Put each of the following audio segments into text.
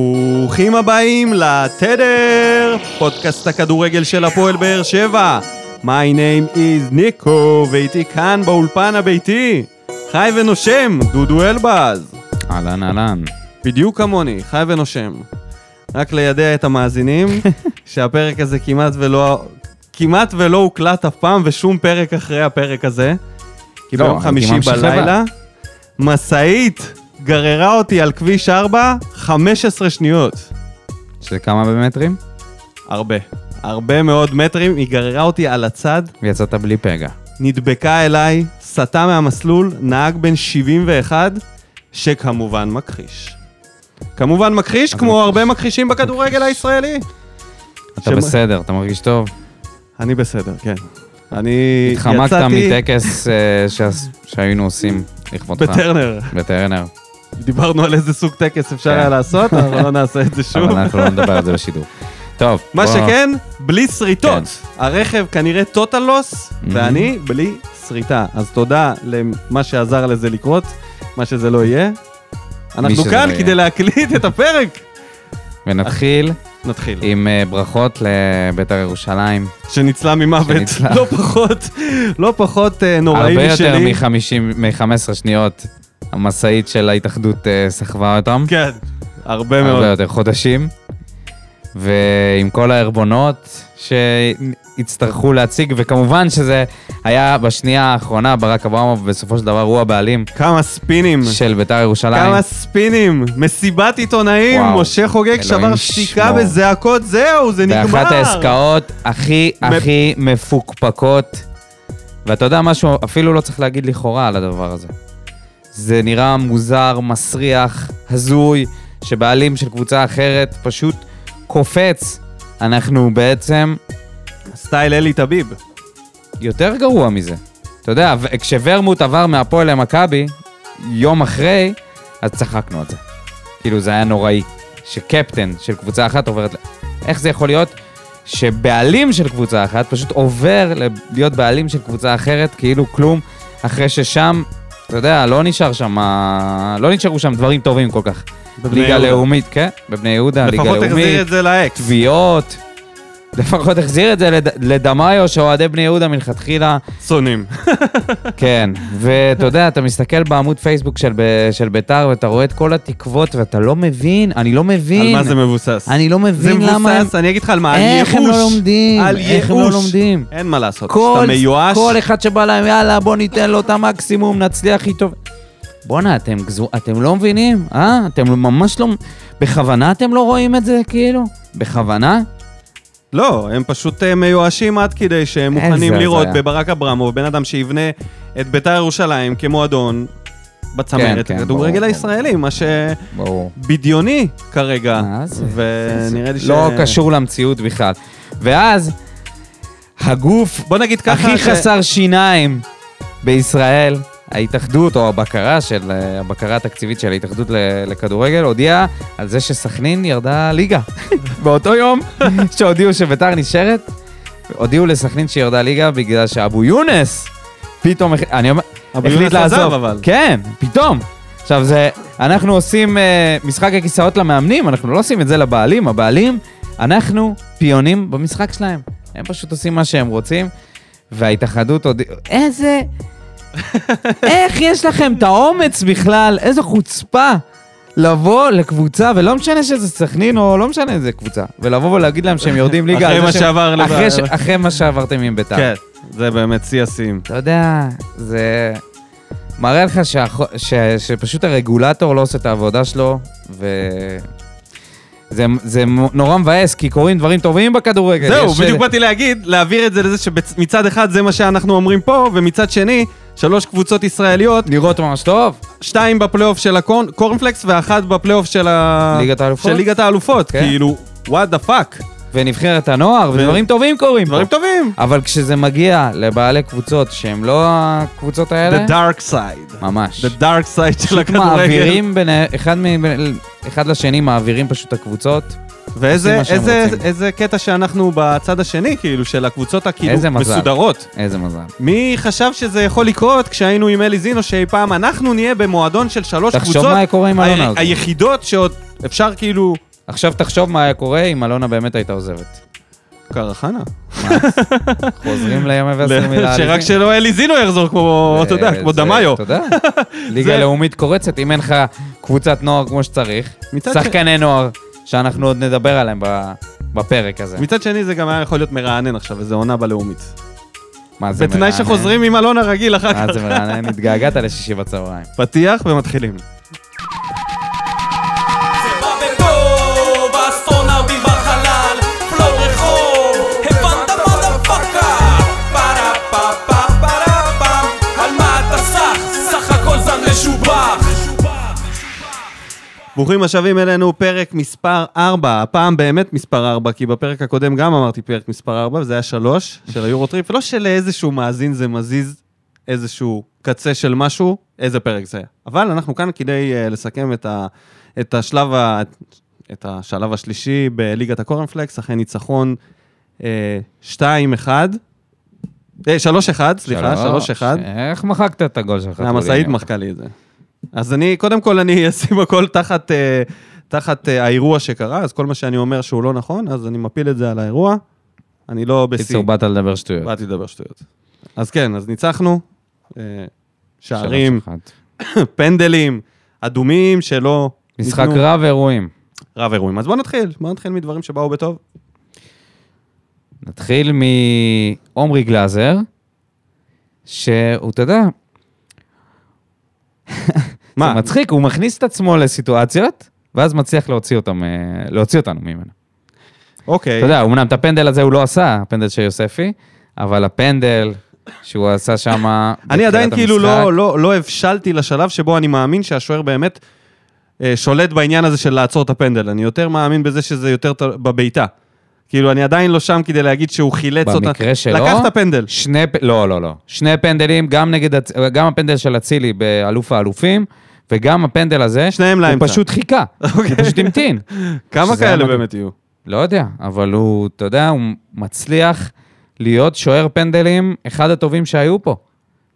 ברוכים הבאים לתדר, פודקאסט הכדורגל של הפועל באר שבע. My name is ניקו, ואיתי כאן באולפן הביתי. חי ונושם, דודו אלבז. אהלן אהלן. בדיוק כמוני, חי ונושם. רק לידע את המאזינים, שהפרק הזה כמעט ולא, כמעט ולא הוקלט אף פעם, ושום פרק אחרי הפרק הזה. כי לא, ביום אני חמישי ממשיך בלילה, משאית גררה אותי על כביש 4, 15 שניות. שזה כמה במטרים? הרבה. הרבה מאוד מטרים, היא גררה אותי על הצד, ויצאת בלי פגע. נדבקה אליי, סטה מהמסלול, נהג בן 71, שכמובן מכחיש. כמובן מכחיש, כמו מכחיש. הרבה מכחישים בכדורגל הישראלי. אתה שמה? בסדר, אתה מרגיש טוב? אני בסדר, כן. אני התחמקת יצאתי מטקס אה, שעש- שהיינו עושים לכבודך. בטרנר. בטרנר. דיברנו על איזה סוג טקס אפשר כן. היה לעשות, אבל לא נעשה את זה שוב. אבל אנחנו לא נדבר על זה בשידור. טוב. מה בוא- שכן, בלי שריטות. כן. הרכב כנראה total loss, ואני בלי שריטה. אז תודה למה שעזר לזה לקרות, מה שזה לא יהיה. אנחנו שזה כאן לא כדי יהיה. להקליט את הפרק. ונתחיל נתחיל. עם אה, ברכות לבית"ר ירושלים. שניצלה ממוות, שניצלה. לא פחות, לא פחות אה, נוראי הרבה משלי. יותר מ-15 שניות המשאית של ההתאחדות אה, סחבה אותם. כן, הרבה הרבה מאוד. יותר חודשים. ועם כל הערבונות שהצטרכו להציג, וכמובן שזה היה בשנייה האחרונה, ברק אברמוב בסופו של דבר הוא הבעלים כמה ספינים. של בית"ר ירושלים. כמה ספינים, מסיבת עיתונאים, וואו. משה חוגג שבר אלוהים שתיקה ישמור. בזעקות, זהו, זה נגמר. באחת העסקאות הכי הכי מפוקפקות. ואתה יודע משהו, אפילו לא צריך להגיד לכאורה על הדבר הזה. זה נראה מוזר, מסריח, הזוי, שבעלים של קבוצה אחרת פשוט קופץ. אנחנו בעצם סטייל אלי טביב. יותר גרוע מזה. אתה יודע, ו- כשוורמוט עבר מהפועל למכבי, יום אחרי, אז צחקנו על זה. כאילו, זה היה נוראי. שקפטן של קבוצה אחת עוברת ל... איך זה יכול להיות שבעלים של קבוצה אחת פשוט עובר ל- להיות בעלים של קבוצה אחרת, כאילו כלום, אחרי ששם, אתה יודע, לא נשאר שם, ה- לא נשארו שם דברים טובים כל כך. בבני ליגה יהודה. לאומית, כן, בבני יהודה, ליגה לאומית. לפחות תחזיר את זה לאקס. תביעות. לפחות החזיר את זה לד- לדמאיו, שאוהדי בני יהודה מלכתחילה, שונאים. כן. ואתה יודע, אתה מסתכל בעמוד פייסבוק של, ב- של ביתר, ואתה רואה את כל התקוות, ואתה לא מבין, אני לא מבין. על מה זה מבוסס? אני לא זה מבין למה הם... מבוסס, אני אגיד לך על מה, על ייאוש. איך הם לא לומדים? על איך הם לא ייאוש. לומדים? אין מה לעשות, כל, כשאתה מיואש, כל אחד שבא להם, יאללה, בוא ניתן לו את המקסימום, נצליח איתו. בואנה, אתם, גזו- אתם לא מבינים? אה? אתם ממש לא... בכוונה אתם לא רואים את זה, כאילו? בכוונה? לא, הם פשוט אה, מיואשים עד כדי שהם איזה מוכנים לראות הזיה. בברק אברמוב, בן אדם שיבנה את ביתר ירושלים כמועדון בצמרת, כן, כדורגל ברור, אה. הישראלי, מה ברור. שבדיוני כרגע, מה זה? אה, ונראה לי ש... לא קשור למציאות בכלל. ואז, הגוף בוא נגיד ככה, הכי ש- חסר שיניים בישראל, ההתאחדות או הבקרה של, אה, הבקרה התקציבית של ההתאחדות ל- לכדורגל, הודיעה על זה שסכנין ירדה ליגה. באותו יום שהודיעו שביתר נשארת, הודיעו לסכנין שירדה ליגה בגלל שאבו יונס פתאום, הח- אני אומר, אבו החליט יונס עזב, לעזוב. אבל. כן, פתאום. עכשיו זה, אנחנו עושים אה, משחק הכיסאות למאמנים, אנחנו לא עושים את זה לבעלים, הבעלים, אנחנו פיונים במשחק שלהם. הם פשוט עושים מה שהם רוצים, וההתאחדות עוד... איזה... איך יש לכם את האומץ בכלל? איזו חוצפה לבוא לקבוצה, ולא משנה שזה סכנין או לא משנה איזה קבוצה, ולבוא ולהגיד להם שהם יורדים ליגה. אחרי על זה מה שהם- שעבר לב- אחרי ש- אחרי מה שעברתם עם בית"ר. כן, זה באמת שיא השיאים. אתה יודע, זה מראה לך שהח... ש... שפשוט הרגולטור לא עושה את העבודה שלו, ו... זה, זה נורא מבאס, כי קורים דברים טובים בכדורגל. זהו, כן, יש- אה, בדיוק באתי להגיד, להעביר את זה לזה שמצד אחד זה מה שאנחנו אומרים פה, ומצד שני, שלוש קבוצות ישראליות, נראות ממש טוב. שתיים בפלייאוף של הקורנפלקס ואחת בפלייאוף של ה... ליגת האלופות? אה, של ליגת האלופות, כן. כאילו, וואט דה פאק. ונבחרת הנוער, ודברים טובים קורים דברים פה. טובים. אבל כשזה מגיע לבעלי קבוצות שהן לא הקבוצות האלה, The dark side. ממש. The dark side של הכדורגל. מעבירים בין... אחד, מ... בין- אחד לשני מעבירים פשוט את הקבוצות. ואיזה עושים מה שהם איזה- רוצים. איזה קטע שאנחנו בצד השני, כאילו, של הקבוצות הכאילו איזה מזל. מסודרות. איזה מזל. מי חשב שזה יכול לקרות כשהיינו עם אלי זינו, שאי פעם אנחנו נהיה במועדון של שלוש תחשוב קבוצות. אה, מה קורה עם ה- אלונה הזאת. היחידות שעוד אפשר כאילו עכשיו תחשוב מה היה קורה אם אלונה באמת הייתה עוזבת. קרחנה. מה? חוזרים לימי ועשר מילה. אה, שרק שלא אלי זינו יחזור כמו, אתה יודע, כמו דמאיו. אתה יודע. ליגה זה- לאומית קורצת, אם אין לך קבוצת נוער כמו שצריך, מצד ש- שחקני נוער, שאנחנו עוד נדבר עליהם ב- בפרק הזה. מצד שני, זה גם היה יכול להיות מרענן עכשיו, איזה עונה בלאומית. מה זה בתנאי מרענן? שחוזרים עם אלונה רגיל אחר מה כך. זה מרענן? התגעגעת לשישי בצהריים. פתיח ומתחילים. זה בא בטוב, האסטרונאוטים בחלל, פלואו רחוב, הבנת מה דפקה? פרה פה פה פרה פה, על מה אתה סח? סך הכל זן משובח. ברוכים השבים אלינו, פרק מספר 4. הפעם באמת מספר 4, כי בפרק הקודם גם אמרתי פרק מספר 4, וזה היה 3 של היורוטריפ, ולא שלאיזשהו מאזין זה מזיז איזשהו קצה של משהו, איזה פרק זה היה. אבל אנחנו כאן כדי אה, לסכם את, ה, את, השלב ה, את השלב השלישי בליגת הקורנפלקס, אחרי ניצחון אה, 2-1, אה, 3-1, סליחה, 3-1. איך מחקת את הגול שלך? המשאית טוליני? מחקה לי את זה. אז אני, קודם כל, אני אשים הכל תחת, אה, תחת אה, האירוע שקרה, אז כל מה שאני אומר שהוא לא נכון, אז אני מפיל את זה על האירוע. אני לא בשיא. קיצור, באת לדבר שטויות. באתי לדבר שטויות. אז כן, אז ניצחנו. אה, שערים, שלוש אחת. פנדלים, אדומים שלא... משחק ניתנו. רב אירועים. רב אירועים. אז בואו נתחיל, בואו נתחיל מדברים שבאו בטוב. נתחיל מעומרי גלאזר, שהוא, אתה יודע, זה מה? מצחיק, הוא מכניס את עצמו לסיטואציות, ואז מצליח להוציא, אותם, אה, להוציא אותנו ממנו. אוקיי. אתה יודע, אמנם את הפנדל הזה הוא לא עשה, הפנדל של יוספי, אבל הפנדל שהוא עשה שם... אני בתחילת עדיין כאילו המשחק, לא, לא, לא הבשלתי לשלב שבו אני מאמין שהשוער באמת אה, שולט בעניין הזה של לעצור את הפנדל. אני יותר מאמין בזה שזה יותר ת- בבעיטה. כאילו, אני עדיין לא שם כדי להגיד שהוא חילץ אותה. במקרה שלו... לקח את הפנדל. שני... פ- לא, לא, לא. שני פנדלים, גם, נגד, הצ- גם הפנדל של אצילי באלוף האלופים, וגם הפנדל הזה, שניהם לאמצע. אוקיי. הוא פשוט חיכה. הוא פשוט המתין. כמה שזה היה כאלה מדהים. באמת יהיו? לא יודע, אבל הוא, אתה יודע, הוא מצליח להיות שוער פנדלים, אחד הטובים שהיו פה.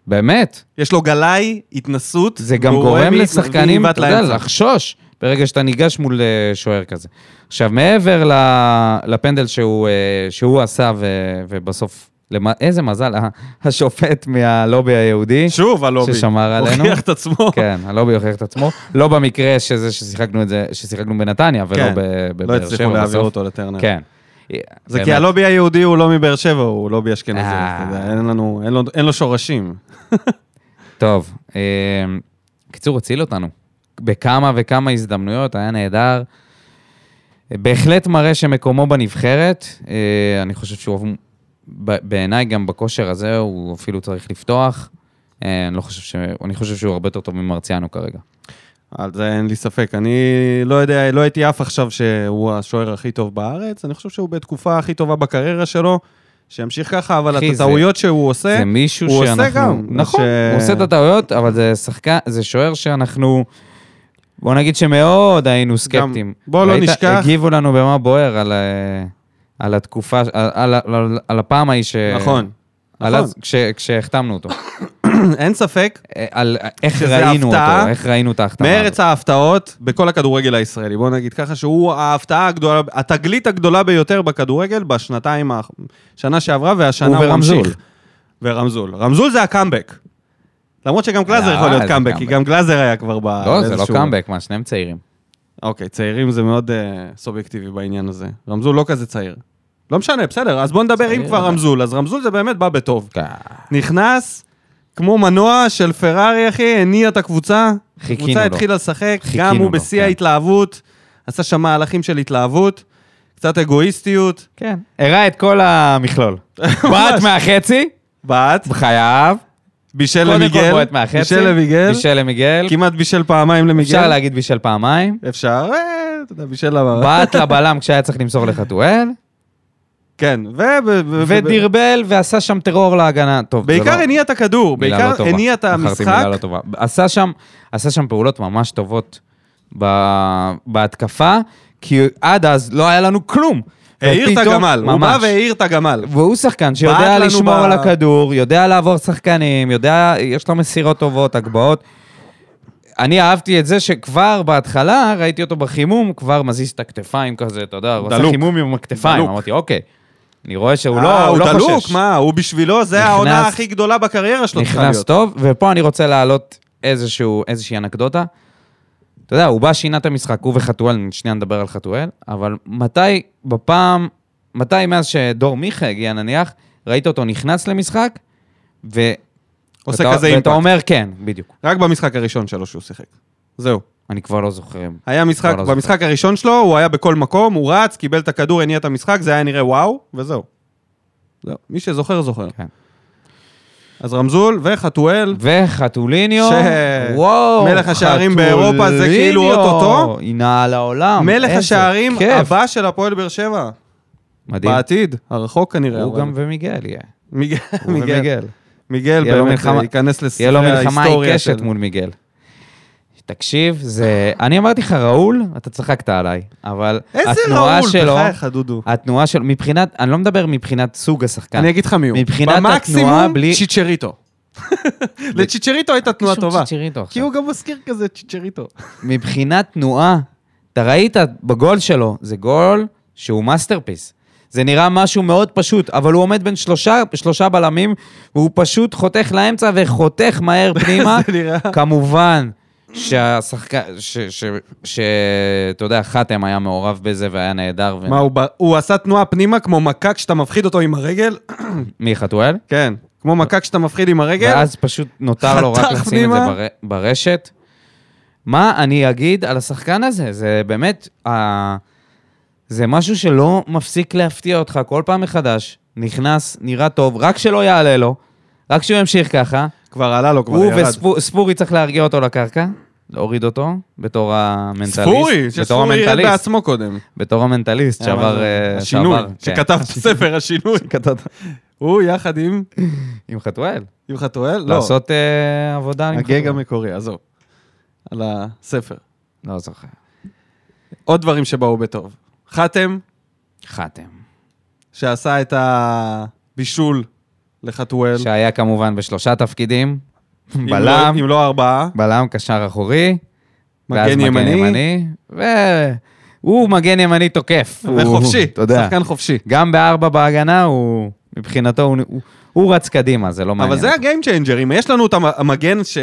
באמת. יש לו גלאי, התנסות. זה גם והוא רואה גורם מי- מי לשחקנים, יבעט אתה יודע, לאמצע. לחשוש ברגע שאתה ניגש מול אה, שוער כזה. עכשיו, מעבר ל- לפנדל שהוא, אה, שהוא עשה, ו- ובסוף, למ- איזה מזל, ה- השופט מהלובי היהודי, שוב, הלובי. ששמר עלינו. הוכיח את עצמו. כן, הלובי הוכיח את עצמו, לא במקרה שזה ששיחקנו את זה, ששיחקנו בנתניה, ולא כן. ב- בבאר שבע לא הצליחו להעביר בסוף. אותו לטרנר. כן. זה כי באמת. הלובי היהודי הוא לא מבאר שבע, הוא לובי אשכנזי. אה. אתה יודע, אין לנו, אין לו- אין לו שורשים. טוב, אה, קיצור, הציל אותנו. בכמה וכמה הזדמנויות, היה נהדר. בהחלט מראה שמקומו בנבחרת. אה, אני חושב שהוא, ב- בעיניי גם בכושר הזה, הוא אפילו צריך לפתוח. אה, אני, לא חושב ש... אני חושב שהוא הרבה יותר טוב ממרציאנו כרגע. על זה אין לי ספק. אני לא יודע, לא הייתי אף עכשיו שהוא השוער הכי טוב בארץ, אני חושב שהוא בתקופה הכי טובה בקריירה שלו, שימשיך ככה, אבל אחי, את זה- הטעויות שהוא עושה, זה מישהו הוא שאנחנו... עושה גם. נכון, ש- הוא עושה את הטעויות, אבל זה שחקן, זה שוער שאנחנו... בוא נגיד שמאוד היינו סקפטיים. בוא לא ראית, נשכח- הגיבו לנו במה בוער על, ה- על התקופה, על, על, על, על הפעם ההיא ש... נכון. על נכון. אז, כש, כשהחתמנו אותו. אה, אין ספק, על איך שזה ראינו הפתעה. אותו, איך ראינו את ההחתמה. מארץ ההפתעות בכל הכדורגל הישראלי, בוא נגיד ככה, שהוא ההפתעה הגדולה, התגלית הגדולה ביותר בכדורגל בשנתיים, האח- שנה שעברה והשנה הוא וברמזול. ממשיך. ורמזול. רמזול זה הקאמבק. למרות שגם גלאזר לא, יכול להיות זה קאמבק, כי קאמבק. גם גלאזר היה כבר ב... הזאת. לא, זה לא באיזשהו- קאמבק, מה, שניהם צעירים. אוקיי, צעירים זה מאוד אה, סובייקטיבי בעניין הזה. רמזול לא כזה צעיר. לא משנה, בסדר, אז בוא נדבר אם צעיר, כבר אבל- רמזול. אז רמזול זה באמת בא בטוב. נכנס כמו מנוע של פרארי, אחי, הניע את הקבוצה. חיכינו הקבוצה לו. התחילה לשחק, חיכינו גם הוא לו, בשיא כן. ההתלהבות, עשה שם מהלכים של התלהבות, קצת אגואיסטיות, כן. הראה את כל המכלול. בועט מהחצי, בעט, חייב. בישל קודם כל למיגל, בועט מהחצי. בישל למיגל, בישל למיגל. כמעט בישל פעמיים אפשר למיגל. להגיד בישל פעמיים. אפשר, אה, אתה יודע, בישל למה. בעט לבלם כשהיה צריך למסור לחתואל, כן, ו... ו- ו- ודרבל ועשה שם טרור להגנה. טוב, זה בעיקר לא- הניע את הכדור, מילה בעיקר לא טובה. הניע את בחרתי מילה המשחק. לא טובה. עשה שם, עשה שם פעולות ממש טובות ב- בהתקפה, כי עד אז לא היה לנו כלום. העיר את ופתאום- הגמל, הוא בא ממש. והעיר את הגמל. והוא שחקן בעט שיודע לנו לשמור ב- על הכדור, יודע לעבור שחקנים, יודע, יש לו מסירות טובות, הגבהות. אני אהבתי את זה שכבר בהתחלה, ראיתי אותו בחימום, כבר מזיז את הכתפיים כזה, אתה יודע, הוא עשה דלוק. חימום עם הכתפיים. דלוק. אמרתי, אוקיי. אני רואה שהוא אה, לא הוא לא חושש. הוא דלוק, מה, הוא בשבילו, זה נכנס- העונה הכי גדולה בקריירה שלו צריכה נכנס להיות. טוב, ופה אני רוצה להעלות איזשהו, איזושהי אנקדוטה. אתה יודע, הוא בא, שינה את המשחק, הוא וחתואל, שנייה נדבר על חתואל, אבל מתי בפעם, מתי מאז שדור מיכה הגיע נניח, ראית אותו נכנס למשחק, ו... עושה ואתה- כזה ואתה אימפקט. אומר כן, בדיוק. רק במשחק הראשון שלו שהוא שיחק. זהו. אני כבר לא זוכר. אם- היה משחק, לא, לא במשחק הראשון שלו, הוא היה בכל מקום, הוא רץ, קיבל את הכדור, הניע את המשחק, זה היה נראה וואו, וזהו. זהו. מי שזוכר, זוכר. כן. אז רמזול וחתואל, וחתוליניו, ש- וואו, מלך השערים באירופה זה כאילו חתוליניו, אוטוטו. הנה על העולם. מלך איזה השערים כיף. הבא של הפועל באר שבע. מדהים. בעתיד, הרחוק כנראה. הוא אבל- גם ומיגל יהיה. מיגל, הוא מיגל. ומיגל. מיגל יהיה לו באמת מלחמה- אה, ייכנס תהיה לספרי לו מלחמה ההיסטוריה עיקשת של... מול מיגל. תקשיב, זה... אני אמרתי לך, ראול, אתה צחקת עליי, אבל איזה התנועה ראול, שלו... אה, בחייך, דודו. התנועה שלו, מבחינת, אני לא מדבר מבחינת סוג השחקן. אני אגיד לך מי הוא. כן. מבחינת התנועה במקסימום, בלי- צ'יצ'ריטו. לצ'יצ'ריטו הייתה תנועה קשור טובה. צ'יצ'ריטו כי עכשיו. הוא גם מזכיר כזה צ'יצ'ריטו. מבחינת תנועה, אתה ראית בגול שלו, זה גול שהוא מאסטרפיס. זה נראה משהו מאוד פשוט, אבל הוא עומד בין שלושה, שלושה בלמים, והוא פשוט חותך לאמצע וחותך מהר פנימה. זה נראה- כן. כמובן שהשחקן, ש... ש... ש... אתה יודע, חתם היה מעורב בזה והיה נהדר. ו... מה, הוא ב- הוא עשה תנועה פנימה כמו מכה כשאתה מפחיד אותו עם הרגל? מי חתואל? כן, כמו מכה כשאתה מפחיד עם הרגל. ואז פשוט נותר לו רק חתך לשים את זה פנימה. בר... ברשת. מה אני אגיד על השחקן הזה? זה באמת, ה... זה משהו שלא מפסיק להפתיע אותך כל פעם מחדש. נכנס, נראה טוב, רק שלא יעלה לו, רק שהוא ימשיך ככה. כבר עלה לו, כבר הוא ירד. וספורי צריך להרגיע אותו לקרקע, להוריד אותו, בתור המנטליסט. ספורי, בתור שספורי ירד המנטליסט. בעצמו קודם. בתור המנטליסט שעבר... אה, השינוי, שעבר, כן. שכתב בספר השינוי. הוא יחד עם... עם חתואל. עם חתואל? לא. לעשות אה, עבודה עם הגג חתואל. המקורי, עזוב. על הספר. לא זוכר. עוד דברים שבאו בטוב. חתם, חתם. שעשה את הבישול לחתואל. שהיה כמובן בשלושה תפקידים, אם לא- בלם, אם לא ארבעה. בלם, קשר אחורי, ואז מגן ימני. והוא מגן ימני תוקף. הוא- וחופשי. אתה יודע. שחקן חופשי. גם בארבע בהגנה הוא, מבחינתו, הוא- הוא- הוא רץ קדימה, זה לא מעניין. אבל זה הגיים צ'יינג'ר, אם יש לנו את המ- המגן ש...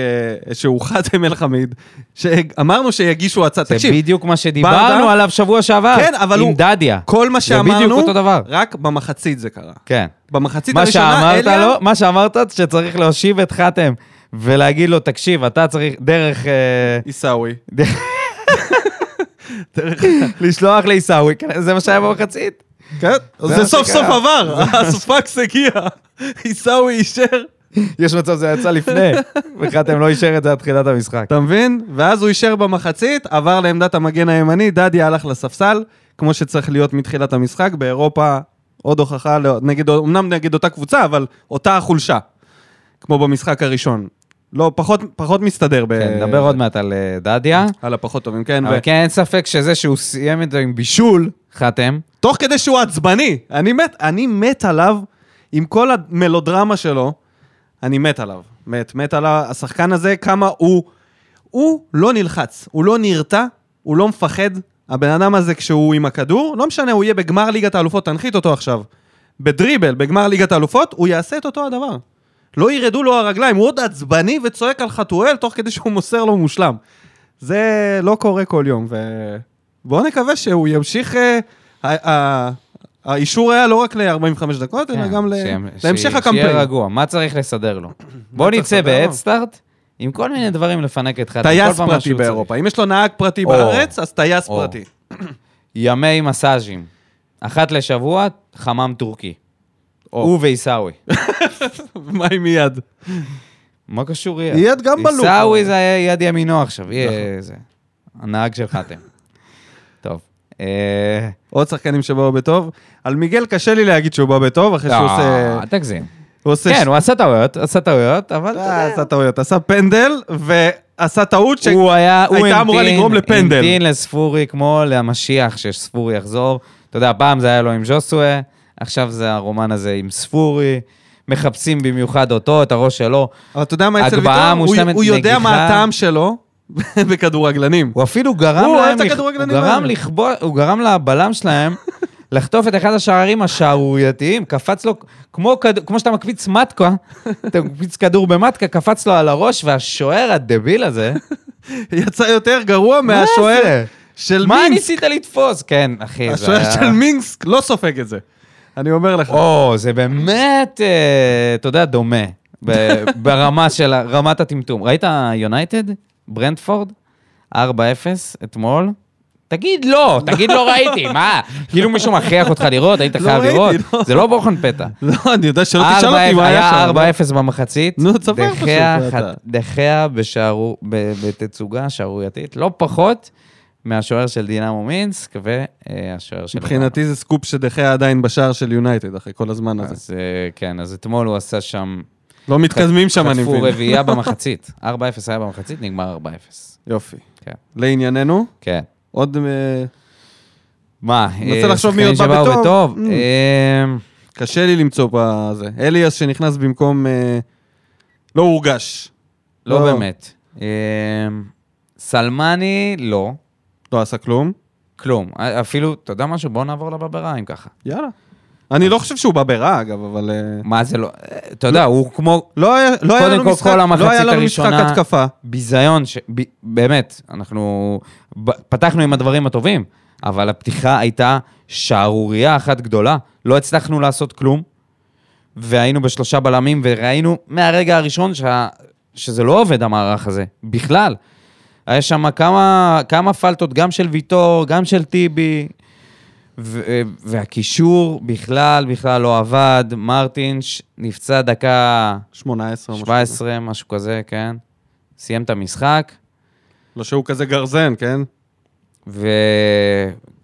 שהוא חתם אל חמיד, שאמרנו שיגישו הצעה, זה תקשיב, בדיוק מה שדיברנו ברדה- עליו שבוע שעבר, כן, אבל עם הוא- דדיה. כל מה זה שאמרנו, בדיוק אותו דבר. רק במחצית זה קרה. כן. במחצית מה הראשונה, שאמרת לא. אליה, לו, מה שאמרת שצריך להושיב את חתם ולהגיד לו, תקשיב, אתה צריך דרך... אה, עיסאווי. לשלוח לעיסאווי, כן, זה מה שהיה במחצית. כן, זה זה מה סוף סוף שקרה. עבר, הספקס הגיע, עיסאווי אישר. יש מצב שזה יצא לפני, וחתם לא אישר את זה עד תחילת המשחק. אתה מבין? ואז הוא אישר במחצית, עבר לעמדת המגן הימני, דדיה הלך לספסל, כמו שצריך להיות מתחילת המשחק, באירופה עוד הוכחה, לא- נגד, אמנם נגד אותה קבוצה, אבל אותה החולשה, כמו במשחק הראשון. לא, פחות, פחות מסתדר ב... כן, נדבר עוד מעט על אה, דדיה. על הפחות טובים, כן. אבל כן, אין ספק שזה שהוא סיים את זה עם בישול, חתם, תוך כדי שהוא עצבני. אני מת, אני מת עליו, עם כל המלודרמה שלו, אני מת עליו. מת, מת על השחקן הזה, כמה הוא... הוא לא נלחץ, הוא לא נרתע, הוא לא מפחד. הבן אדם הזה, כשהוא עם הכדור, לא משנה, הוא יהיה בגמר ליגת האלופות, תנחית אותו עכשיו. בדריבל, בגמר ליגת האלופות, הוא יעשה את אותו הדבר. לא ירדו לו הרגליים, הוא עוד עצבני וצועק על חתואל, תוך כדי שהוא מוסר לו מושלם. זה לא קורה כל יום, ובואו נקווה שהוא ימשיך... אה, ה- ה- האישור היה לא רק ל-45 דקות, אלא כן, גם ל- שיהיה- להמשך שיהיה- הקמפיין. שיהיה רגוע, מה צריך לסדר לו? בוא צריך נצא לסדר לו? בהדסטארט עם כל מיני דברים לפנק את חתם. כל טייס פעם משהו פרטי צריך. באירופה. אם יש לו נהג פרטי או. בארץ, אז טייס או. פרטי. ימי מסאז'ים. אחת לשבוע, חמם טורקי. או. הוא ועיסאווי. מה עם יד? מה קשור יד? יד גם בלופ. נכון. עיסאווי זה היה יד ימינו עכשיו, יהיה זה. הנהג של חתם. טוב. אה, עוד שחקנים שבאו בטוב. על מיגל קשה לי להגיד שהוא בא בטוב, אחרי שהוא עושה... אל תגזים. הוא עושה... אה, כן, הוא עשה טעויות, עשה טעויות, אבל אתה אה, יודע, עשה טעויות. עשה פנדל, ועשה טעות ש... הוא היה, הוא הייתה אמורה המתין- לגרום לפנדל. המתין לספורי כמו למשיח, שספורי יחזור. אתה יודע, פעם זה היה לו עם ז'וסואה, עכשיו זה הרומן הזה עם ספורי. מחפשים במיוחד אותו, את הראש שלו. אבל אתה יודע מה אצל הגבהה ויטור? הוא- מושלמת, הוא יודע מה נגיחה. הטעם שלו, בכדורגלנים. הוא אפילו גרם הוא אוהב להם... את לכ- הכדורגלנים הוא גרם האלה. לכבוש... הוא גרם לבלם שלהם לחטוף את אחד השערים השערורייתיים, קפץ לו, כמו, כד... כמו שאתה מקפיץ מטקה, אתה מקפיץ כדור במטקה, קפץ לו על הראש, והשוער הדביל הזה, יצא יותר גרוע מה מהשוער זה? של מה מינסק. ניסית לתפוס? כן, אחי, זה השוער היה... של מינסק לא סופג את זה. אני אומר לך. או, זה באמת, אה, אתה יודע, דומה, ב- ברמה של, ה- רמת הטמטום. ראית יונייטד? ברנדפורד? 4-0 אתמול? תגיד לא, תגיד לא ראיתי, מה? כאילו מישהו מכריח אותך לראות, היית לא חייב ראיתי, לראות. לא. זה לא בוחן פתע. לא, אני יודע שלא תשאל אותי מה היה היה שם. 4-0 במחצית. נו, תספר דחיה פשוט, אתה. חט- דחיה בשערו- ב- בתצוגה שערורייתית, לא פחות מהשוער של דינמו מינסק והשוער של... מבחינתי זה סקופ שדחה עדיין בשער של יונייטד, אחרי כל הזמן הזה. אז אה, כן, אז אתמול הוא עשה שם... לא מתקדמים שם, אני חטפו מבין. רביעייה במחצית. 4-0 היה במחצית, נגמר 4-0. יופי. כן. לענייננו, כן. עוד... אה, מה? מנסה אה, לחשוב מי עוד שחקנים בא שבאו בטוב? בטוב. Mm. אה, קשה לי למצוא בזה. אליאס שנכנס במקום... אה, לא הורגש. לא לא. באמת. אה, סלמני, לא. לא עשה כלום. כלום. אה, אפילו, אתה יודע משהו? בוא נעבור לבברה, אם ככה. יאללה. אני לא חושב שהוא בא ברע, אגב, אבל... אה, מה זה לא... אה, אתה יודע, הוא כמו לא היה לא היה קודם לנו כל, משחק כל לא היה המחצית לנו משחק הראשונה- התקפה. ביזיון, ש... ב... באמת, אנחנו ב... פתחנו עם הדברים הטובים, אבל הפתיחה הייתה שערורייה אחת גדולה. לא הצלחנו לעשות כלום, והיינו בשלושה בלמים, וראינו מהרגע הראשון שה... שזה לא עובד, המערך הזה, בכלל. היה שם כמה, כמה פלטות, גם של ויטור, גם של טיבי, ו- והקישור בכלל, בכלל לא עבד. מרטינש נפצע דקה 18 או לא משהו. 17, משהו כזה, כן. סיים את המשחק, לא שהוא כזה גרזן, כן?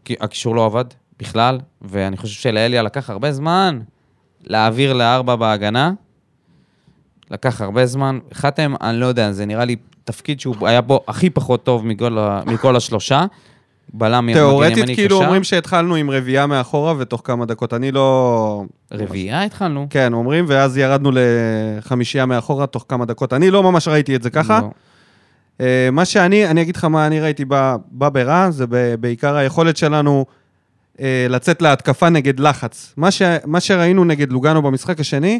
והקישור לא עבד בכלל, ואני חושב שלאליה לקח הרבה זמן להעביר לארבע בהגנה. לקח הרבה זמן. חתם, אני לא יודע, זה נראה לי תפקיד שהוא היה בו הכי פחות טוב מכל, ה- מכל השלושה. בלם ימני תיאורטית, ימני כאילו קשר. אומרים שהתחלנו עם רביעייה מאחורה, ותוך כמה דקות אני לא... רביעייה התחלנו. כן, אומרים, ואז ירדנו לחמישייה מאחורה, תוך כמה דקות. אני לא ממש ראיתי את זה ככה. לא. אה, מה שאני, אני אגיד לך מה אני ראיתי ב- ב- ברע, זה ב- בעיקר היכולת שלנו אה, לצאת להתקפה נגד לחץ. מה, ש, מה שראינו נגד לוגאנו במשחק השני,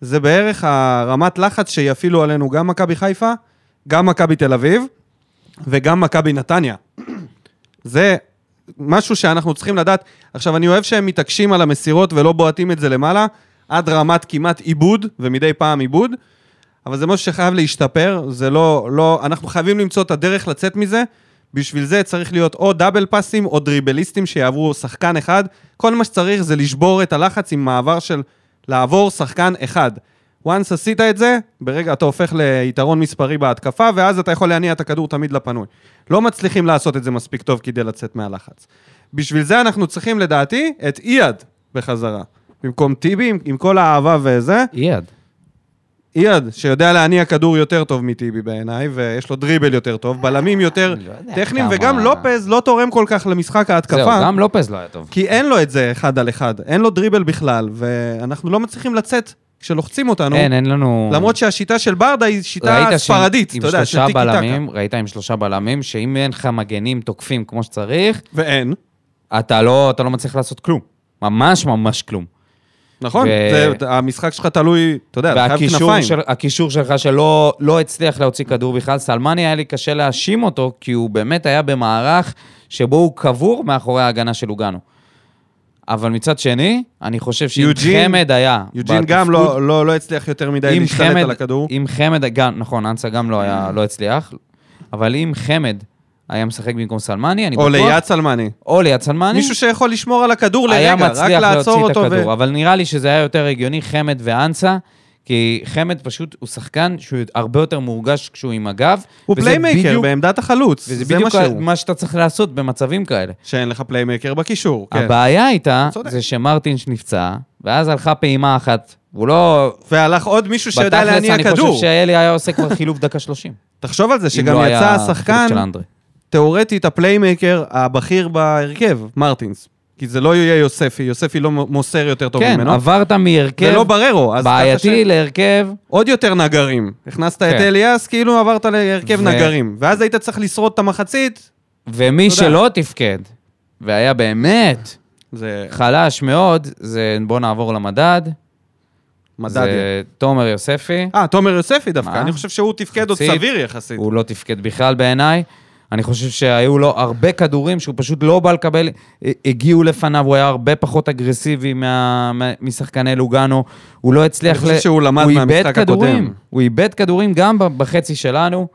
זה בערך הרמת לחץ שיפעילו עלינו גם מכבי חיפה, גם מכבי תל אביב וגם מכבי נתניה. זה משהו שאנחנו צריכים לדעת. עכשיו, אני אוהב שהם מתעקשים על המסירות ולא בועטים את זה למעלה, עד רמת כמעט עיבוד, ומדי פעם עיבוד. אבל זה משהו שחייב להשתפר, זה לא, לא, אנחנו חייבים למצוא את הדרך לצאת מזה, בשביל זה צריך להיות או דאבל פאסים או דריבליסטים שיעברו שחקן אחד, כל מה שצריך זה לשבור את הלחץ עם מעבר של לעבור שחקן אחד. once עשית את זה, ברגע אתה הופך ליתרון מספרי בהתקפה, ואז אתה יכול להניע את הכדור תמיד לפנוי. לא מצליחים לעשות את זה מספיק טוב כדי לצאת מהלחץ. בשביל זה אנחנו צריכים לדעתי את אייד בחזרה. במקום טיבי, עם, עם כל האהבה וזה, אייד. אייד, שיודע להניע כדור יותר טוב מטיבי בעיניי, ויש לו דריבל יותר טוב, בלמים יותר אני לא יודע טכניים, כמה- וגם לופז לא תורם כל כך למשחק זהו, ההתקפה, גם לופז לא היה טוב. כי אין לו את זה אחד על אחד, אין לו דריבל בכלל, ואנחנו לא מצליחים לצאת כשלוחצים אותנו, אין, אין לנו... למרות שהשיטה של ברדה היא שיטה ראית שעם- ספרדית, עם אתה יודע, של שלושה טיקי טקה. בלמים, ראית עם שלושה בלמים, שאם אין לך מגנים תוקפים כמו שצריך, ואין, אתה לא, אתה לא מצליח לעשות כלום. ממש ממש כלום. נכון? ו- זה- המשחק שלך תלוי, אתה יודע, אתה חייב והקישור כנפיים. של, הקישור שלך שלא לא הצליח להוציא כדור בכלל, סלמני היה לי קשה להאשים אותו, כי הוא באמת היה במערך שבו הוא קבור מאחורי ההגנה של לוגנו. אבל מצד שני, אני חושב שאם יוג'ין- חמד היה... יוג'ין גם לא- בתפקוד- לא לא הצליח יותר מדי אם להשתלט חמד- על הכדור. אם חמד, גם, נכון, אנסה גם לא, היה, לא הצליח, אבל אם חמד היה משחק במקום סלמני, אני או בטוח... ליד סלמני. או ליד סלמני. מישהו שיכול לשמור על הכדור היה לרגע, רק מצליח לעצור להוציא את אותו ו... הכדור, אבל נראה לי שזה היה יותר הגיוני, חמד ואנסה, כי חמד פשוט הוא שחקן שהוא הרבה יותר מורגש כשהוא עם הגב. הוא וזה פליימייקר בדיוק- בעמדת החלוץ, וזה זה מה בדיוק שהוא. מה שאתה צריך לעשות במצבים כאלה. שאין לך פליימייקר בקישור, כן. הבעיה הייתה, צודק. זה שמרטינש נפצע, ואז הלכה פעימה אחת, הוא לא... והלך עוד מישהו שיודע בתכלס, להניע אני כדור. חושב שאלי היה עושה כבר חילוף דקה 30. תחשוב על זה, אם שגם לא יצא היה חילוף השחקן, של אנדרי. תיאורטית הפליימייקר הבכיר בהרכב, מרטינס. כי זה לא יהיה יוספי, יוספי לא מ- מוסר יותר טוב כן, ממנו. עברת מהרכב זה לא בררו, אז בעייתי ש... להרכב, עוד יותר נגרים. הכנסת את כן. אליאס, כאילו עברת להרכב ו- נגרים. ואז היית צריך לשרוד את המחצית, ומי תודה. שלא תפקד, והיה באמת זה חלש מאוד, זה בוא נעבור למדד. מדד. זה תומר יוספי. אה, תומר יוספי מה? דווקא, אני חושב שהוא תפקד עוד יחסית. סביר יחסית. הוא לא תפקד בכלל בעיניי. אני חושב שהיו לו הרבה כדורים שהוא פשוט לא בא לקבל, ה- הגיעו לפניו, הוא היה הרבה פחות אגרסיבי מה, מה- משחקני לוגאנו, הוא לא הצליח... אני חושב שהוא למד הוא מהמשחק איבד כדורים, הקודם. הוא איבד כדורים גם ב- בחצי שלנו,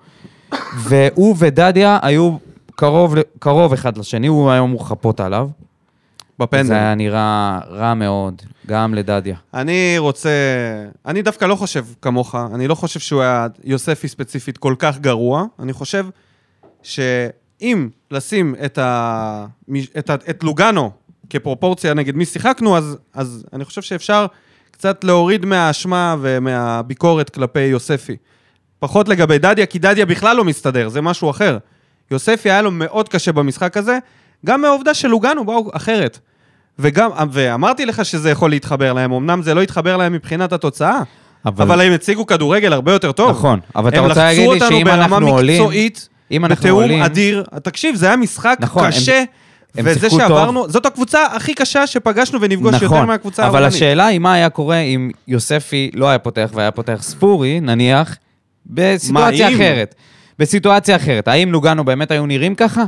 והוא ודדיה היו קרוב, ל- קרוב אחד לשני, הוא היה אמור לחפות עליו. זה בפנדל. היה נראה רע מאוד, גם לדדיה. אני רוצה... אני דווקא לא חושב כמוך, אני לא חושב שהוא היה יוספי ספציפית כל כך גרוע. אני חושב שאם לשים את, ה... מי- את, ה... את לוגאנו כפרופורציה נגד מי שיחקנו, אז, אז אני חושב שאפשר קצת להוריד מהאשמה ומהביקורת כלפי יוספי. פחות לגבי דדיה, כי דדיה בכלל לא מסתדר, זה משהו אחר. יוספי היה לו מאוד קשה במשחק הזה, גם מהעובדה שלוגאנו באו אחרת. וגם, ואמרתי לך שזה יכול להתחבר להם, אמנם זה לא התחבר להם מבחינת התוצאה, אבל, אבל הם הציגו כדורגל הרבה יותר טוב. נכון, אבל אתה הם רוצה לחצו להגיד לי אותנו שאם ברמה אנחנו עולים, מקצועית, אם אנחנו בתיאום עולים, אדיר. תקשיב, זה היה משחק נכון, הם- קשה, הם וזה שיחקו טוב. נכון, שעברנו, זאת הקבוצה הכי קשה שפגשנו ונפגוש יותר מהקבוצה אבל הרומנית. השאלה היא מה היה קורה אם יוספי לא היה פותח והיה פותח ספורי, נניח, בסיטואציה מה אם? אחרת. בסיטואציה אחרת. האם לוגנו באמת היו נראים ככה?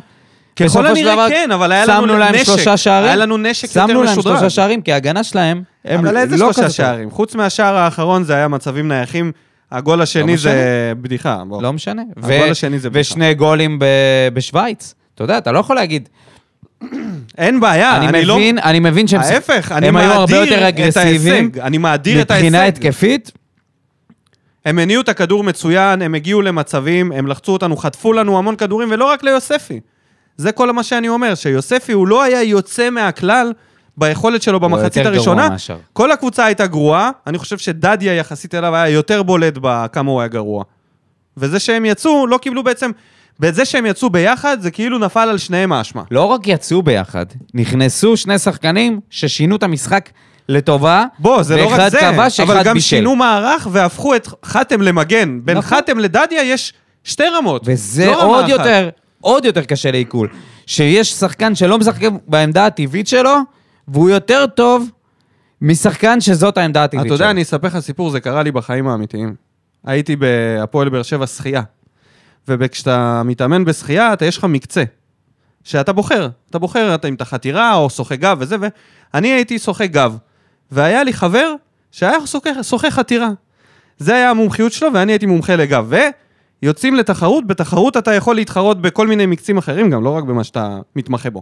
ככל בסופו של הנראה דבר, כן, אבל היה לנו שמנו להם נשק. שלושה שערים. היה לנו נשק יותר שמנו להם משודרג. שלושה שערים, כי ההגנה שלהם, הם אבל איזה לא שלושה כזאת. שערים? חוץ מהשער האחרון זה היה מצבים נייחים, הגול השני זה בדיחה. בוא. לא משנה. הגול השני זה בדיחה. ושני גולים ב- בשוויץ. אתה יודע, אתה לא יכול להגיד. אין בעיה, אני לא... מבין, אני מבין שהם... ההפך, אני הם היו הרבה מאדיר יותר את אגרסיביים. ההישג. אני מאדיר את ההישג. מבחינה התקפית, הם הניעו את הכדור מצוין, הם הגיעו למצבים, הם לחצו אותנו, חטפו לנו המון כדורים, ולא רק ליוספי. זה כל מה שאני אומר, שיוספי הוא לא היה יוצא מהכלל ביכולת שלו במחצית לא, יותר גרוע הראשונה. מהשאר. כל הקבוצה הייתה גרועה, אני חושב שדדיה יחסית אליו היה יותר בולט בכמה הוא היה גרוע. וזה שהם יצאו, לא קיבלו בעצם... בזה שהם יצאו ביחד, זה כאילו נפל על שניהם האשמה. לא רק יצאו ביחד, נכנסו שני שחקנים ששינו את המשחק לטובה. בוא, זה לא רק ואחד זה, כבש, אבל אחד גם בישל. שינו מערך והפכו את חתם למגן. בין נכון. חתם לדדיה יש שתי רמות. וזה לא רמה עוד אחת. יותר, עוד יותר קשה לעיכול. שיש שחקן שלא משחק בעמדה הטבעית שלו, והוא יותר טוב משחקן שזאת העמדה הטבעית אתה שלו. יודע, אני אספר לך סיפור, זה קרה לי בחיים האמיתיים. הייתי בהפועל באר שבע שחייה, וכשאתה מתאמן בשחייה, אתה, יש לך מקצה, שאתה בוחר. אתה בוחר אתה, אם אתה חתירה או שוחה גב וזה, ואני הייתי שוחה גב, והיה לי חבר שהיה שוחה- שוחה חתירה. זה היה המומחיות שלו, ואני הייתי מומחה לגב. ויוצאים לתחרות, בתחרות אתה יכול להתחרות בכל מיני מקצים אחרים, גם לא רק במה שאתה מתמחה בו.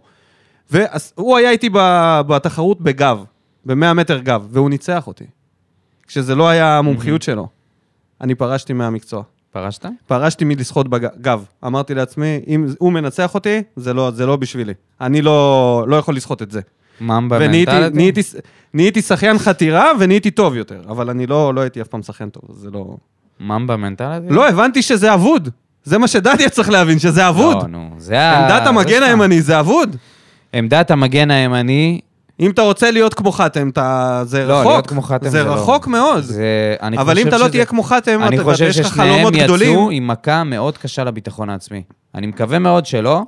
והוא היה איתי ב- בתחרות בגב, ב-100 מטר גב, והוא ניצח אותי. כשזה לא היה המומחיות שלו. אני פרשתי מהמקצוע. פרשת? פרשתי מלשחות בגב. אמרתי לעצמי, אם הוא מנצח אותי, זה לא, זה לא בשבילי. אני לא, לא יכול לשחות את זה. ממבה ונהייתי מנטלית? נהייתי ס- נהייתי שחיין חתירה ונהייתי טוב יותר, אבל אני לא, לא הייתי אף פעם שחיין טוב, זה לא... ממבה מנטלית? לא, הבנתי שזה אבוד. זה מה שדדיה צריך להבין, שזה אבוד. לא, נו, זה ה... עמדת המגן זה הימני זה אבוד. שם. עמדת המגן הימני... אם אתה רוצה להיות כמו חתם, אתה... זה לא, רחוק. להיות כמו חתם זה לא. רחוק מאוד. זה... אני אבל אם חושב אתה לא שזה- תהיה כמו חתם, אני אתה- חושב ויש לך חלומות ששניהם יצאו גדולים. עם מכה מאוד קשה לביטחון העצמי. אני מקווה מאוד שלא.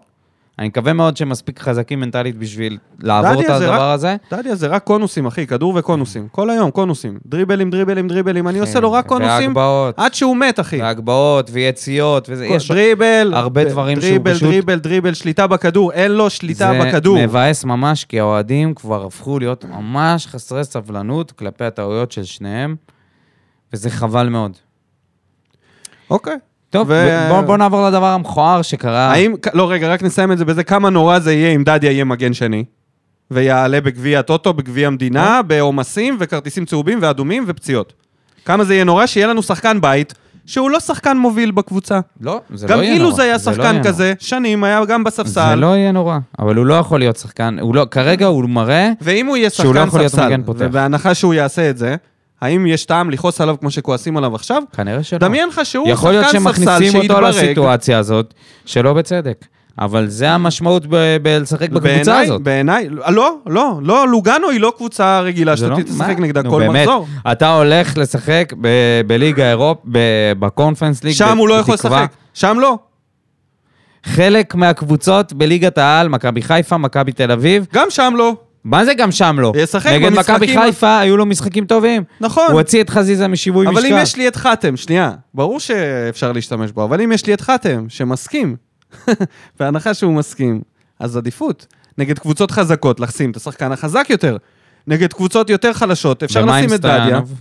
אני מקווה מאוד שהם מספיק חזקים מנטלית בשביל לעבור את דדיה, זה הדבר רק- הזה. דדיה זה רק קונוסים, אחי, כדור וקונוסים. כל היום קונוסים. דריבלים, דריבלים, דריבלים. אני עושה לו רק קונוסים והגבהות, עד שהוא מת, אחי. והגבהות, ויציאות, וזה, יש... דריבל, הרבה ד- דברים שהוא דריבל, פשוט- דריבל, דריבל, שליטה בכדור, אין לו שליטה בכדור. זה מבאס ממש, כי האוהדים כבר הפכו להיות ממש חסרי סבלנות כלפי הטעויות של שניהם, וזה חבל מאוד. אוקיי. טוב, ו- בואו בוא נעבור לדבר המכוער שקרה. האם, לא רגע, רק נסיים את זה בזה, כמה נורא זה יהיה אם דדיה יהיה מגן שני, ויעלה בגביע הטוטו, בגביע אה? המדינה, בעומסים וכרטיסים צהובים ואדומים ופציעות. כמה זה יהיה נורא שיהיה לנו שחקן בית, שהוא לא שחקן מוביל בקבוצה. לא, זה לא גם יהיה נורא. אילוז היה זה לא יהיה שחקן נורא. כזה, שנים, היה גם זה בספסל, לא יהיה נורא, אבל הוא לא יכול להיות שחקן, הוא לא, כרגע הוא מראה, ואם הוא יהיה שהוא לא שחקן יכול להיות ספסל, מגן פותח. ובהנחה שהוא יעשה את זה, האם יש טעם לכעוס עליו כמו שכועסים עליו עכשיו? כנראה שלא. דמיין לך שהוא לא. יכול להיות שחקן ספסל שמכניסים אותו שהתברג, לסיטואציה הזאת, שלא בצדק. אבל זה המשמעות ב- בלשחק בקבוצה בעיניי, הזאת. בעיניי, לא, לא, לא, לוגאנו היא לא קבוצה רגילה זה שאתה לא- תשחק מה? נגדה נו, כל באמת. מחזור. אתה הולך לשחק ב- בליגה אירופ, ב- בקונפרנס ליג, שם הוא לא יכול בתקווה. לשחק, שם לא. חלק מהקבוצות בליגת העל, מכבי חיפה, מכבי תל אביב, גם שם לא. מה זה גם שם לא? ישחק נגד מכבי במשחקים- חיפה היו לו משחקים טובים. נכון. הוא הוציא את חזיזה משיווי משקל. אבל אם יש לי את חתם, שנייה, ברור שאפשר להשתמש בו, אבל אם יש לי את חתם, שמסכים, בהנחה שהוא מסכים, אז עדיפות. נגד קבוצות חזקות, לשים את השחקן החזק יותר. נגד קבוצות יותר חלשות, אפשר ומה עם לשים את דדיה. סטויאנוב?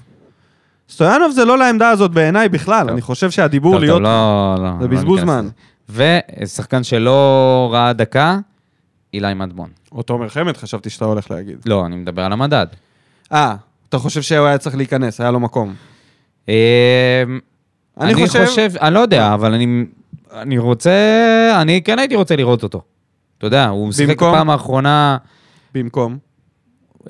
סטויאנוב זה לא לעמדה הזאת בעיניי בכלל, טוב. אני חושב שהדיבור טוב, להיות... טוב, לא, לא. זה לא בזבוז ניכנס זמן. לזה. ושחקן שלא ראה דקה, אילי מדמון. או תומר חמד, חשבתי שאתה הולך להגיד. לא, אני מדבר על המדד. אה, אתה חושב שהוא היה צריך להיכנס, היה לו מקום. אמ, אני אני חושב- חושב, אני לא יודע, אבל אני, אני רוצה, אני כן הייתי רוצה לראות אותו. אתה יודע, הוא שיחק במקום? פעם האחרונה, במקום.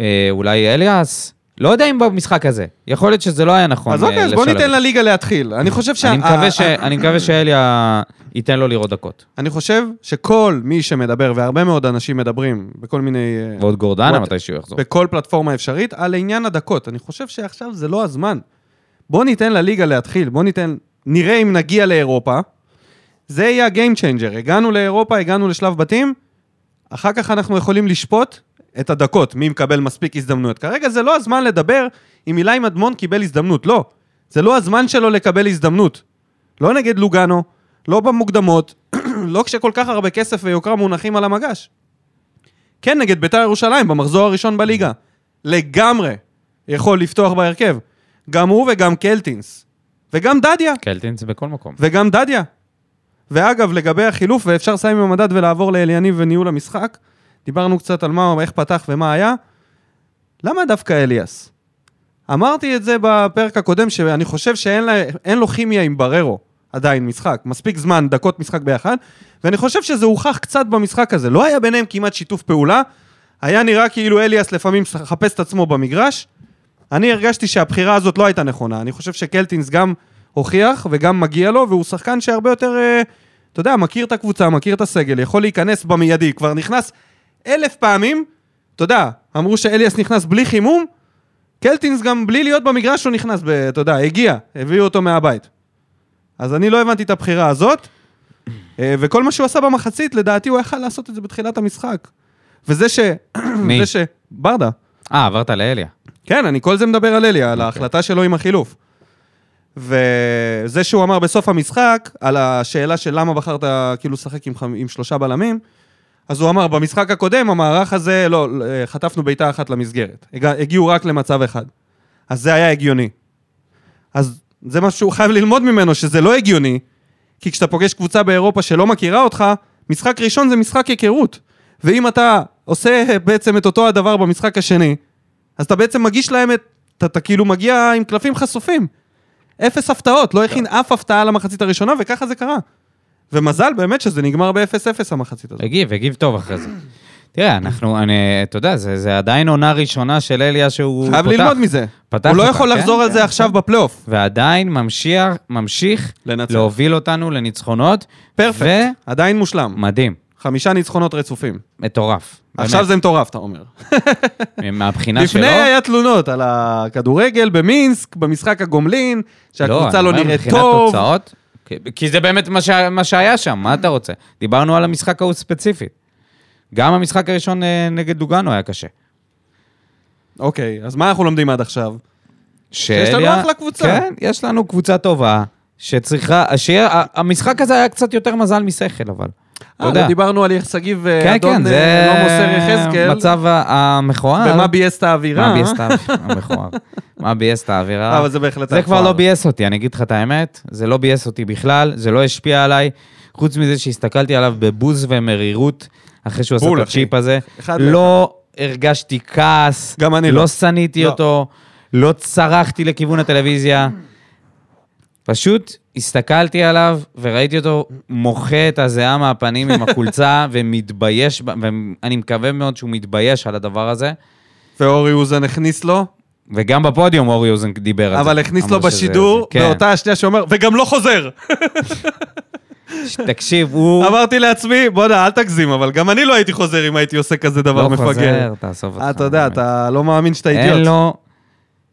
אה, אולי אליאס? לא יודע אם במשחק הזה. יכול להיות שזה לא היה נכון אז אוקיי, אה, אז בוא לשלב ניתן אותו. לליגה להתחיל. אני חושב שה... אני מקווה ש- ה- אני מקווה שאליה ייתן לו לראות דקות. אני חושב שכל מי שמדבר, והרבה מאוד אנשים מדברים בכל מיני... אה, ועוד גורדנה what- מתי שהוא יחזור. בכל פלטפורמה אפשרית, על עניין הדקות. אני חושב שעכשיו זה לא הזמן. בוא ניתן לליגה להתחיל, בוא ניתן... נראה אם נגיע לאירופה. זה יהיה ה-game changer. הגענו לאירופה, הגענו לשלב בתים, אחר כך אנחנו יכולים לשפוט את הדקות, מי מקבל מספיק הזדמנויות. כרגע זה לא הזמן לדבר אם אילי מדמון קיבל הזדמנות, לא. זה לא הזמן שלו לקבל הזדמנות. לא נגד לוגאנו, לא במוקדמות, לא כשכל כך הרבה כסף ויוקרה מונחים על המגש. כן, נגד ביתר ירושלים, במחזור הראשון בליגה. לגמרי יכול לפתוח בהרכב. גם הוא וגם קלטינס. וגם דדיה. קלטינס בכל מקום. וגם דדיה. ואגב, לגבי החילוף, ואפשר לסיים עם המדד ולעבור לאליניב וניהול המשחק, דיברנו קצת על מה, איך פתח ומה היה. למה דווקא אליאס? אמרתי את זה בפרק הקודם, שאני חושב שאין לה, אין לו כימיה עם בררו עדיין משחק. מספיק זמן, דקות משחק ביחד, ואני חושב שזה הוכח קצת במשחק הזה. לא היה ביניהם כמעט שיתוף פעולה, היה נראה כאילו אליאס לפעמים מחפש את עצמו במגרש. אני הרגשתי שהבחירה הזאת לא הייתה נכונה. אני חושב שקלטינס גם הוכיח וגם מגיע לו, והוא שחקן שהרבה יותר, אה, אתה יודע, מכיר את הקבוצה, מכיר את הסגל, יכול להיכנס במיידי, כבר נכנס אלף פעמים. אתה יודע, אמרו שאליאס נכנס בלי חימום, קלטינס גם בלי להיות במגרש הוא נכנס, ב, אתה יודע, הגיע, הביאו אותו מהבית. אז אני לא הבנתי את הבחירה הזאת, אה, וכל מה שהוא עשה במחצית, לדעתי הוא יכל לעשות את זה בתחילת המשחק. וזה ש... מי? זה ש... ברדה. אה, עברת לאליה. כן, אני כל זה מדבר על אליה, על ההחלטה שלו עם החילוף. וזה שהוא אמר בסוף המשחק, על השאלה של למה בחרת כאילו לשחק עם, חמ- עם שלושה בלמים, אז הוא אמר, במשחק הקודם, המערך הזה, לא, אה, חטפנו בעיטה אחת למסגרת. הג- הגיעו רק למצב אחד. אז זה היה הגיוני. אז זה מה שהוא חייב ללמוד ממנו, שזה לא הגיוני, כי כשאתה פוגש קבוצה באירופה שלא מכירה אותך, משחק ראשון זה משחק היכרות. ואם אתה עושה בעצם את אותו הדבר במשחק השני, אז אתה בעצם מגיש להם את... אתה, אתה כאילו מגיע עם קלפים חשופים. אפס הפתעות, לא הכין אף הפתעה למחצית הראשונה, וככה זה קרה. ומזל באמת שזה נגמר ב-0-0 המחצית הזאת. הגיב, הגיב טוב אחרי זה. תראה, אנחנו, אני, אתה יודע, זה, זה עדיין עונה ראשונה של אליה שהוא פותח. חייב ללמוד מזה. פתח הוא לא אותה, יכול כן, לחזור על כן, זה עכשיו בפלייאוף. ועדיין ממשיך, ממשיך לנצח. להוביל אותנו לניצחונות. פרפקט, עדיין מושלם. ומדהים, חמישה ניצחונות רצופים. מטורף. עכשיו זה מטורף, אתה אומר. זה... מהבחינה שלו. לפני היה תלונות על הכדורגל במינסק, במשחק הגומלין, שהקבוצה אני לא אומר נראית מבחינת טוב. תוצאות, כי- כי זה באמת מה, ש... מה שהיה שם, מה אתה רוצה? דיברנו על המשחק ההוא ספציפית. גם המשחק הראשון אה, נגד דוגנו היה קשה. אוקיי, אז מה אנחנו לומדים עד עכשיו? שאליה... שיש לנו אחלה קבוצה. כן, יש לנו קבוצה טובה, שצריכה... שיה... ה- המשחק הזה היה קצת יותר מזל משכל, אבל. אתה אה, לא יודע. דיברנו על יחסגיב כן, ואדון כן, אה, זה לא מוסר יחזקאל. מצב ה- המכוער. ומה ביאס את האווירה? מה ביאס את האווירה? המכוער. מה ביאס את האווירה? אה, אבל זה בהחלט... זה כבר הפועל. לא ביאס אותי, אני אגיד לך את האמת. זה לא ביאס אותי בכלל, זה לא השפיע עליי, חוץ מזה שהסתכלתי עליו בבוז ומרירות, אחרי שהוא עשה בול, את אחי. הצ'יפ הזה. אחד לא הרגשתי כעס, גם אני לא. לא שנאתי לא. אותו, לא צרחתי לכיוון הטלוויזיה. פשוט הסתכלתי עליו וראיתי אותו מוחה את הזיעה מהפנים עם החולצה ומתבייש, ב- ואני מקווה מאוד שהוא מתבייש על הדבר הזה. ואורי אוזן הכניס לו, וגם בפודיום אורי אוזן דיבר על זה. אבל הכניס אמר לו שזה- בשידור, כן. באותה השנייה שאומר, וגם לא חוזר. ש- תקשיב, הוא... אמרתי לעצמי, בוא'נה, אל תגזים, אבל גם אני לא הייתי חוזר אם הייתי עושה כזה דבר לא מפגר. חוזר, תעזוב אותך. אה, אתה יודע, באמת. אתה לא מאמין שאתה אידיוט. אין לו...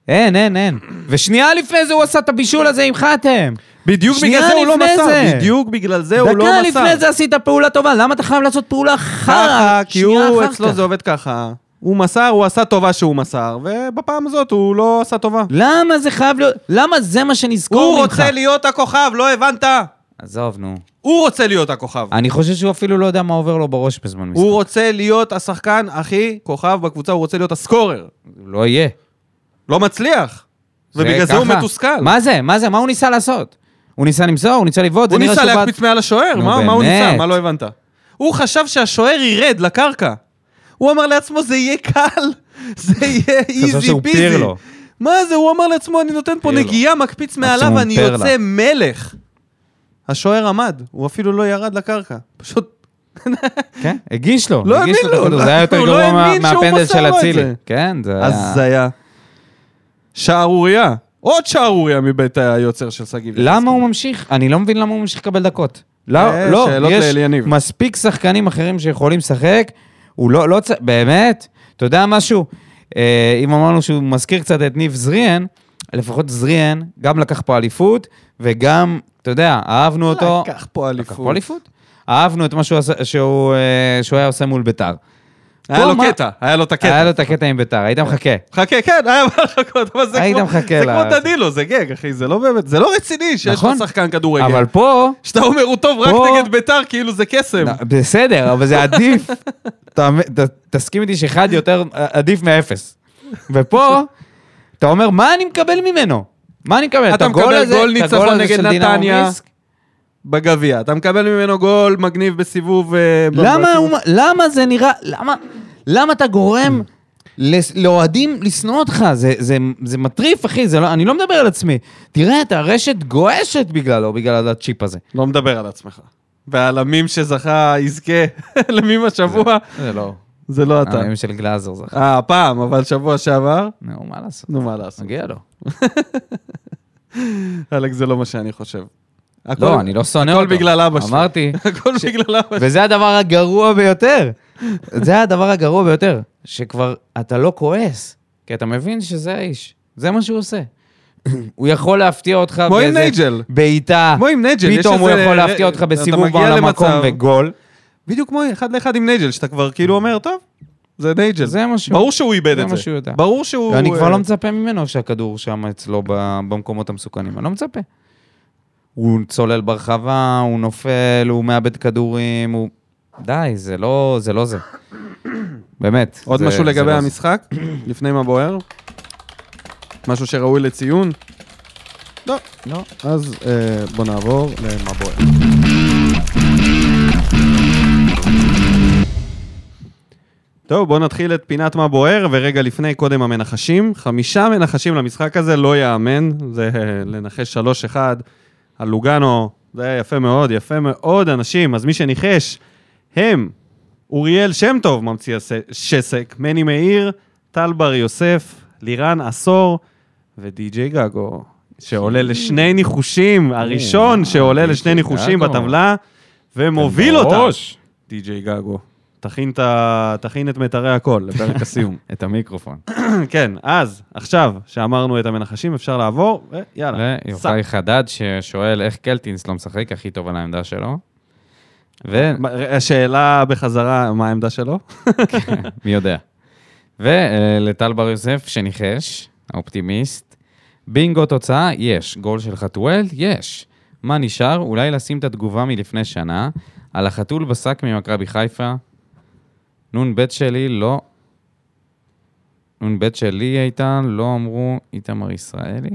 אין, אין, אין. ושנייה לפני זה הוא עשה את הבישול הזה עם חתם. בדיוק שנייה בגלל זה הוא לא לפני מסר. זה. בדיוק בגלל זה הוא לא דקה מסר. לפני זה עשית פעולה טובה, למה אתה חייב לעשות פעולה חרא? ככה, כי שנייה הוא, אחר אצלו כך. זה עובד ככה. הוא מסר, הוא עשה טובה שהוא מסר, ובפעם הזאת הוא לא עשה טובה. למה זה חייב להיות... למה זה מה שנזכור ממך? הוא רוצה להיות הכוכב, לא הבנת? עזוב, נו. הוא רוצה להיות הכוכב. אני חושב שהוא אפילו לא יודע מה עובר לו בראש בזמן משחק. הוא רוצה להיות השחקן הכי כוכב בקבוצה, הוא רוצה להיות הסקורר. הוא לא יהיה. לא מצליח. ובגלל זה הוא ככה. מתוסכל. מה זה? מה זה? מה הוא ניסה לעשות? הוא ניסה למסור? הוא ניסה לבעוט? הוא זה נראה ניסה שהוא בעט- להקפיץ מעל השוער, נו, מה מה הוא באמת. ניסה? מה לא הבנת? הוא חשב שהשוער ירד לקרקע. הוא אמר לעצמו, זה יהיה קל, זה יהיה איזי שהוא פיזי. פירלו. מה זה? הוא אמר לעצמו, אני נותן פה פירלו. נגיעה, מקפיץ מעליו, מקסימום אני פרלה. יוצא מלך. השוער עמד, הוא אפילו לא ירד לקרקע. פשוט כן, הגיש לו. לא הגיש האמין את לו, הכדור. לא- זה היה יותר הוא לא גרוע מה- האמין שהוא מהפנדל מסר של לו את אצילי. זה. כן, זה היה... הזיה. שערורייה. עוד שערורייה מבית היוצר של שגיב. למה הוא ממשיך? אני לא מבין למה הוא ממשיך לקבל דקות. אה, לא, לא, שאלות יש לאליניב. מספיק שחקנים אחרים שיכולים לשחק, הוא לא, לא צריך, באמת? אתה יודע משהו? אה, אם אמרנו שהוא מזכיר קצת את ניב זריאן, לפחות זריאן גם לקח פה אליפות, וגם, אתה יודע, אהבנו אותו. אה, לקח פה לקח אליפות. פה אליפות? אהבנו את מה שהוא, עשה- שהוא, אה, שהוא היה עושה מול ביתר. היה פה לו מה- קטע, היה לו את הקטע. היה לו את הקטע עם ביתר, היית מחכה. חכה, כן, היה מה לחכות, אבל זה היית כמו, מחכה זה כמו לה- דנילו, זה גג, אחי, זה לא באמת, זה לא רציני שיש לך נכון. שחקן כדורגל. אבל פה... שאתה אומר הוא טוב רק פה- נגד ביתר, כאילו זה קסם. לא, בסדר, אבל זה עדיף. אתה- ת- תסכים איתי שאחד יותר עדיף מאפס. ופה, אתה אומר, מה אני מקבל ממנו? מה אני מקבל? אתה את הגול מקבל הזה- גול את הגול ניצחון הזה נגד של דינמו נתניה. מינסק? בגביע, אתה מקבל ממנו גול מגניב בסיבוב... אה, ב- למה בסיבוב- הוא- למה זה נראה... למה- למה אתה גורם לס- לאוהדים לשנוא אותך? זה- זה- זה מטריף, אחי, זה לא- אני לא מדבר על עצמי. תראה, את הרשת גועשת בגללו, בגלל הצ'יפ הזה. לא מדבר על עצמך. ועל המים שזכה, יזכה למים השבוע, זה לא... זה לא אתה. המים של גלאזר זכה. אה, הפעם, אבל שבוע שעבר, נו, מה לעשות? נו מה לעשות. מגיע לו. אלכס, זה לא מה שאני חושב. הכל- לא, אני לא שונא אותו. הכל בגלל אבא שלי. אמרתי, הכל בגלל אבא שלי. וזה הדבר הגרוע ביותר. זה הדבר הגרוע ביותר, שכבר אתה לא כועס, כי אתה מבין שזה האיש, זה מה שהוא עושה. הוא יכול להפתיע אותך כמו עם נייג'ל. בעיטה, כמו עם נג'ל, יש פתאום הוא איזה- יכול להפתיע אותך אתה בסיבוב מגיע על המקום למצב- וגול. בדיוק כמו אחד לאחד עם נייג'ל, שאתה כבר כאילו אומר, טוב, זה נייג'ל. זה מה שהוא- ברור שהוא איבד זה את מה זה. שהוא יודע. ברור שהוא... ואני כבר אה, לא מצפה ממנו שהכדור שם אצלו ב- במקומות המסוכנים, אני לא מצפה. הוא צולל ברחבה, הוא נופל, הוא מאבד כדורים, הוא... די, זה לא זה. לא זה. באמת. עוד זה- משהו זה לגבי לא זה. המשחק, לפני מה בוער? משהו שראוי לציון? לא. לא. אז אה, בוא נעבור למה בוער. טוב, בואו נתחיל את פינת מה בוער, ורגע לפני, קודם המנחשים. חמישה מנחשים למשחק הזה, לא יאמן. זה אה, לנחש 3-1 על לוגאנו, זה היה יפה מאוד, יפה מאוד, אנשים. אז מי שניחש, הם אוריאל שם טוב, ממציא הס- שסק, מני מאיר, טל בר יוסף, לירן עשור ודי.ג'יי גגו, שעולה לשני ניחושים, הראשון שעולה די.ג'יי לשני ניחושים גגו. בטבלה, ומוביל אותה. לא, בראש. די.ג'יי גגו. תכין, את ה- תכין את מיתרי הקול לפרק הסיום. את המיקרופון. כן, אז, עכשיו שאמרנו את המנחשים, אפשר לעבור, ויאללה. ויוחאי חדד ששואל איך קלטינס לא משחק הכי טוב על העמדה שלו. ומי מה, השאלה בחזרה, מה העמדה שלו? יודע. ולטל בר יוסף שניחש, האופטימיסט. בינגו תוצאה, יש. גול של חתואל, יש. מה נשאר? אולי לשים את התגובה מלפני שנה על החתול בשק ממכבי חיפה. נ"ב שלי לא... נ"ב שלי הייתה, לא אמרו איתמר ישראלי.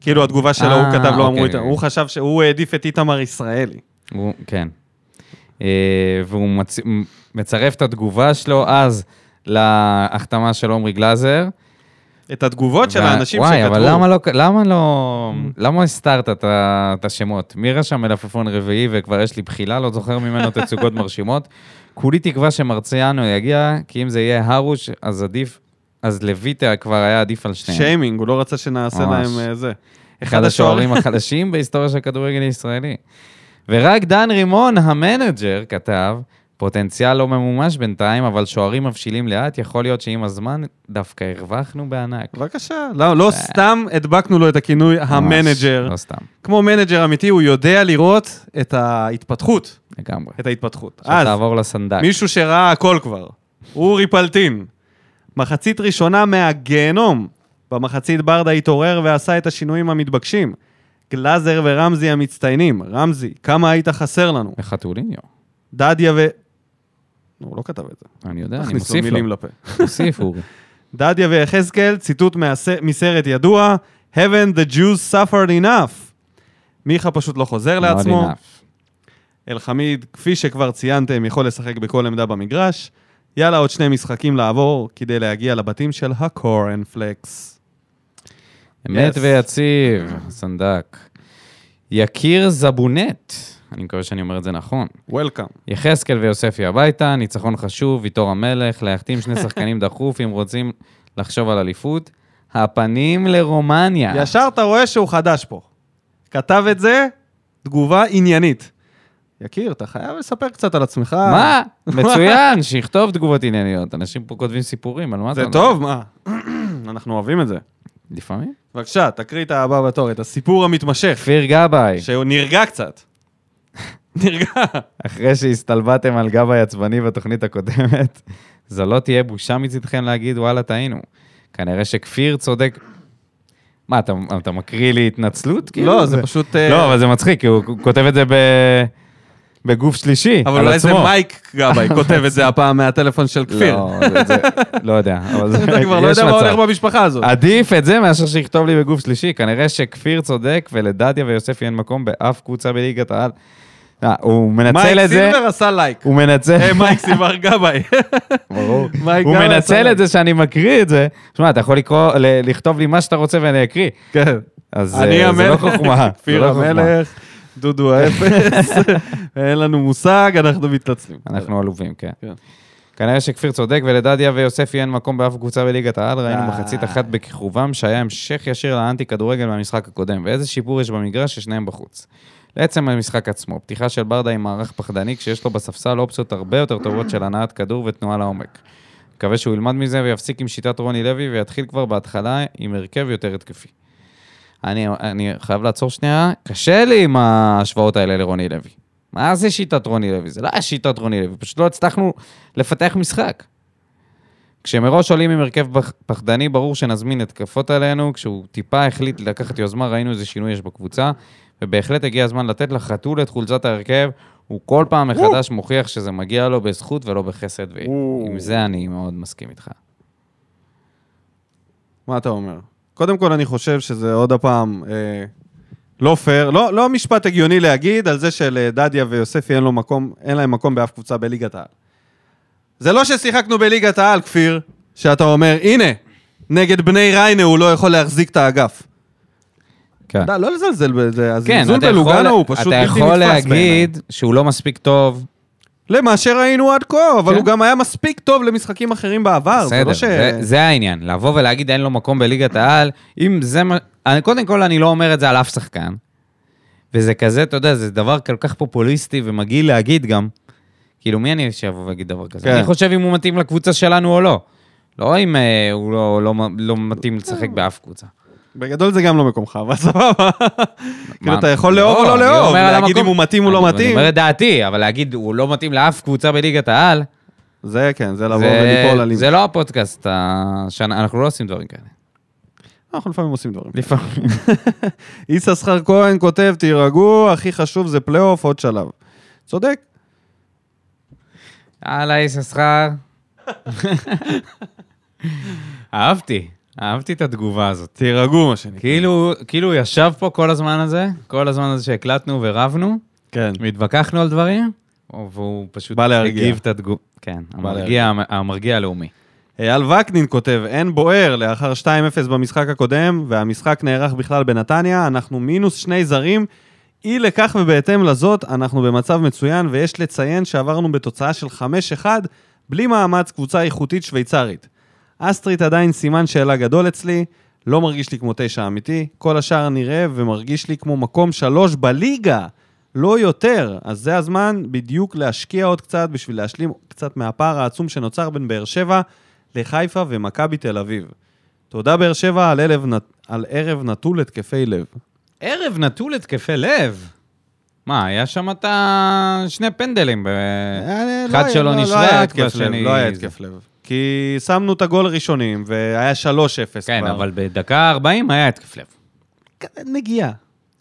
כאילו, התגובה שלו, הוא אה, כתב, לא אמרו אוקיי. איתמר, הוא חשב שהוא העדיף את איתמר ישראלי. הוא, כן. אה, והוא מצ... מ- מצרף את התגובה שלו אז להחתמה של עומרי גלאזר. את התגובות של וה- האנשים וואי, שכתבו. Mm. אבל למה לא... למה לא... למה הסתרת את ה- את השמות? מי רשם מלפפון רביעי וכבר יש לי בחילה, לא זוכר ממנו תצוגות מרשימות. כולי תקווה שמרציאנו יגיע, כי אם זה יהיה הרוש, אז עדיף... אז לויטה כבר היה עדיף על שניהם. שיימינג, הוא לא רצה שנעשה ממש. להם אה, זה. אחד השוערים החלשים בהיסטוריה של הכדורגל הישראלי. ורק דן רימון, המנג'ר, כתב, פוטנציאל לא ממומש בינתיים, אבל שוערים מבשילים לאט, יכול להיות שעם הזמן דווקא הרווחנו בענק. בבקשה. לא, לא סתם הדבקנו לו את הכינוי המנג'ר. ממש, לא סתם, כמו מנג'ר אמיתי, הוא יודע לראות את ההתפתחות. לגמרי. את ההתפתחות. עכשיו אז, תעבור לסנדק. מישהו שראה הכל כבר. אורי פלטין. מחצית ראשונה מהגיהנום. במחצית ברדה התעורר ועשה את השינויים המתבקשים. גלאזר ורמזי המצטיינים. רמזי, כמה היית חסר לנו. וחתוליניו. דדיה ו... נו, הוא לא כתב את זה. אני יודע, אני תכניס לו מוסיף מילים לו. לפה. מוסיף, אורי. דדיה ויחזקאל, ציטוט מהס- מסרט ידוע, Haven't the Jews suffered enough. מיכה פשוט לא חוזר לעצמו. Not enough. אלחמיד, כפי שכבר ציינתם, יכול לשחק בכל עמדה במגרש. יאללה, עוד שני משחקים לעבור כדי להגיע לבתים של הקורנפלקס. אמת Yes. ויציב, סנדק. יקיר זבונט, אני מקווה שאני אומר את זה נכון. וולקאם. יחזקאל ויוספי הביתה, ניצחון חשוב, ויטור המלך, להחתים שני שחקנים דחוף אם רוצים לחשוב על אליפות. הפנים לרומניה. ישר אתה רואה שהוא חדש פה. כתב את זה, תגובה עניינית. יקיר, אתה חייב לספר קצת על עצמך. מה? מצוין, שיכתוב תגובות ענייניות. אנשים פה כותבים סיפורים, על מה אתה... זה טוב, מה? אנחנו אוהבים את זה. לפעמים. בבקשה, תקריא את הבא בתור, את הסיפור המתמשך, כפיר גבאי, שהוא נרגע קצת. נרגע. אחרי שהסתלבטתם על גבאי עצבני בתוכנית הקודמת, זו לא תהיה בושה מצידכם להגיד, וואלה, טעינו. כנראה שכפיר צודק. מה, אתה, אתה מקריא לי התנצלות? כאילו? לא, זה פשוט... אה, לא, אבל זה מצחיק, כי הוא הוא כותב את זה ב... בגוף שלישי, אבל על אולי זה עצמו. מייק גבאי כותב את זה הפעם מהטלפון של כפיר. לא, זה- זה- לא יודע, אבל זה... אתה כבר לא יש יודע מה מצב. הולך במשפחה הזאת. עדיף את זה מאשר שיכתוב לי בגוף שלישי. כנראה שכפיר צודק, ולדדיה ויוספי אין מקום באף קבוצה בליגת העל. אה, הוא מנצל מייק את זה, סילבר עשה לייק. הוא מנצל... לא אה, מייק סילבר גבאי. ברור. מייק הוא גבאי מנצל עשה את זה שאני מקריא את זה. שמע, אתה יכול לקרוא, ל- לכתוב לי מה שאתה רוצה ואני אקריא. כן. אז אני אה, זה לא המלך, חוכמה. זה כפיר לא חוכמה. המלך, דודו האפס. אין לנו מושג, אנחנו מתנצלים. אנחנו עלובים, כן. כן. כנראה שכפיר צודק, ולדדיה ויוספי אין מקום באף קבוצה בליגת העל, ראינו די. מחצית אחת בכיכובם, שהיה המשך ישיר לאנטי כדורגל מהמשחק הקודם, ואיזה שיפור יש במגרש ששניהם בחוץ. לעצם המשחק עצמו, פתיחה של ברדה עם מערך פחדני, כשיש לו בספסל אופציות הרבה יותר טובות של הנעת כדור ותנועה לעומק. מקווה שהוא ילמד מזה ויפסיק עם שיטת רוני לוי, ויתחיל כבר בהתחלה עם הרכב יותר התקפי. אני, אני חייב לעצור שנייה, קשה לי עם ההשוואות האלה לרוני לוי. מה זה שיטת רוני לוי? זה לא היה שיטת רוני לוי, פשוט לא הצלחנו לפתח משחק. כשמראש עולים עם הרכב פח- פחדני, ברור שנזמין התקפות עלינו. כשהוא טיפה החליט לקחת יוזמה, ראינו איזה שינוי יש בקבוצה, ובהחלט הגיע הזמן לתת לחתול את חולצת ההרכב. הוא כל פעם מחדש מוכיח שזה מגיע לו בזכות ולא בחסד, ועם זה אני מאוד מסכים איתך. מה אתה אומר? קודם כל, אני חושב שזה עוד הפעם אה, לא פייר, לא, לא משפט הגיוני להגיד על זה שלדדיה ויוספי אין, לו מקום, אין להם מקום באף קבוצה בליגת העל. זה לא ששיחקנו בליגת העל, כפיר, שאתה אומר, הנה, נגד בני ריינה הוא לא יכול להחזיק את האגף. כן. אתה לא לזלזל בזה, כן, הזלזול אתה יכול- בלוגנו הוא פשוט אתה בלתי יכול נתפס בעיניי. להגיד שהוא לא מספיק טוב, למה שראינו עד כה, אבל כן. הוא גם היה מספיק טוב למשחקים אחרים בעבר, זה בסדר, לא ש... זה- זה העניין. לבוא ולהגיד אין לו מקום בליגת העל, אם זה מה... אני- קודם כל, אני לא אומר את זה על אף שחקן. וזה כזה, אתה יודע, זה דבר כל כך פופוליסטי ומגעיל להגיד גם. כאילו, מי אני שיבוא ויגיד דבר כזה? כן. אני חושב אם הוא מתאים לקבוצה שלנו או לא. לא אם אה, הוא לא- לא מ- לא מתאים לשחק באף קבוצה. בגדול זה גם לא מקומך, אבל סבבה. כאילו, מה- אתה יכול לא, לאהוב או לא אני לאהוב, אומר על להגיד המקום- אם הוא מתאים או לא אני- אני מתאים. אומר את דעתי, אבל להגיד, הוא לא מתאים לאף קבוצה בליגת העל, זה כן, זה לבוא זה- וליפול על אימא. זה לא הפודקאסט, ה- שאנ- אנחנו לא עושים דברים כאלה. אנחנו לפעמים עושים דברים. לפעמים. יששכר כהן כותב, תירגעו, הכי חשוב זה פלייאוף, עוד שלב. צודק. יאללה, איש השכר. אהבתי, אהבתי את התגובה הזאת. תירגעו, מה שנקרא. כאילו, כאילו הוא ישב פה כל הזמן הזה, כל הזמן הזה שהקלטנו ורבנו, כן. והתווכחנו על דברים, והוא פשוט בא להרגיע. הגיב את התגובה. כן, המרגיע, המרגיע הלאומי. אייל וקנין כותב, אין בוער לאחר 2-0 במשחק הקודם, והמשחק נערך בכלל בנתניה, אנחנו מינוס שני זרים. אי לכך ובהתאם לזאת, אנחנו במצב מצוין, ויש לציין שעברנו בתוצאה של 5-1, בלי מאמץ קבוצה איכותית שוויצרית. אסטרית עדיין סימן שאלה גדול אצלי, לא מרגיש לי כמו תשע אמיתי, כל השאר נראה ומרגיש לי כמו מקום שלוש בליגה, לא יותר. אז זה הזמן בדיוק להשקיע עוד קצת בשביל להשלים קצת מהפער העצום שנוצר בין באר שבע לחיפה ומכבי תל אביב. תודה באר שבע על, אלב, נ- על ערב נטול התקפי לב. ערב נטול התקפי לב. מה, היה שם את ה- שני פנדלים. ב- אה, אחד לא היה- שלא לא- לא נשרק היה התקף לב, והשני- לא היה התקף לב. כי שמנו את הגול הראשונים, והיה 3-0 כן, כבר. אבל בדקה 40 היה התקף לב. נגיעה.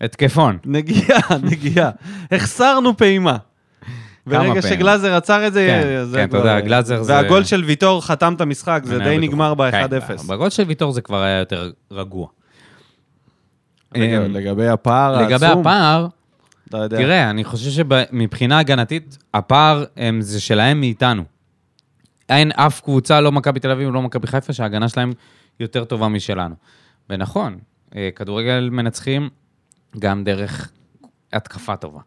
התקפון. נגיעה, נגיעה. החסרנו פעימה. כמה ברגע פעימה? שגלאזר עצר את זה, כן, זה כן, כבר- אתה יודע, גלאזר זה- והגול של ויטור חתם את המשחק, זה די נגמר כן, ב-1-0. בגול של ויטור זה כבר היה יותר רגוע. אה, לגבי הפער העצום, לגבי הפער, אתה יודע. תראה, אני חושב שמבחינה הגנתית, הפער הם, זה שלהם מאיתנו. אין אף קבוצה, לא מכבי תל אביב, לא מכבי חיפה, שההגנה שלהם יותר טובה משלנו. ונכון, אה, כדורגל מנצחים גם דרך התקפה טובה.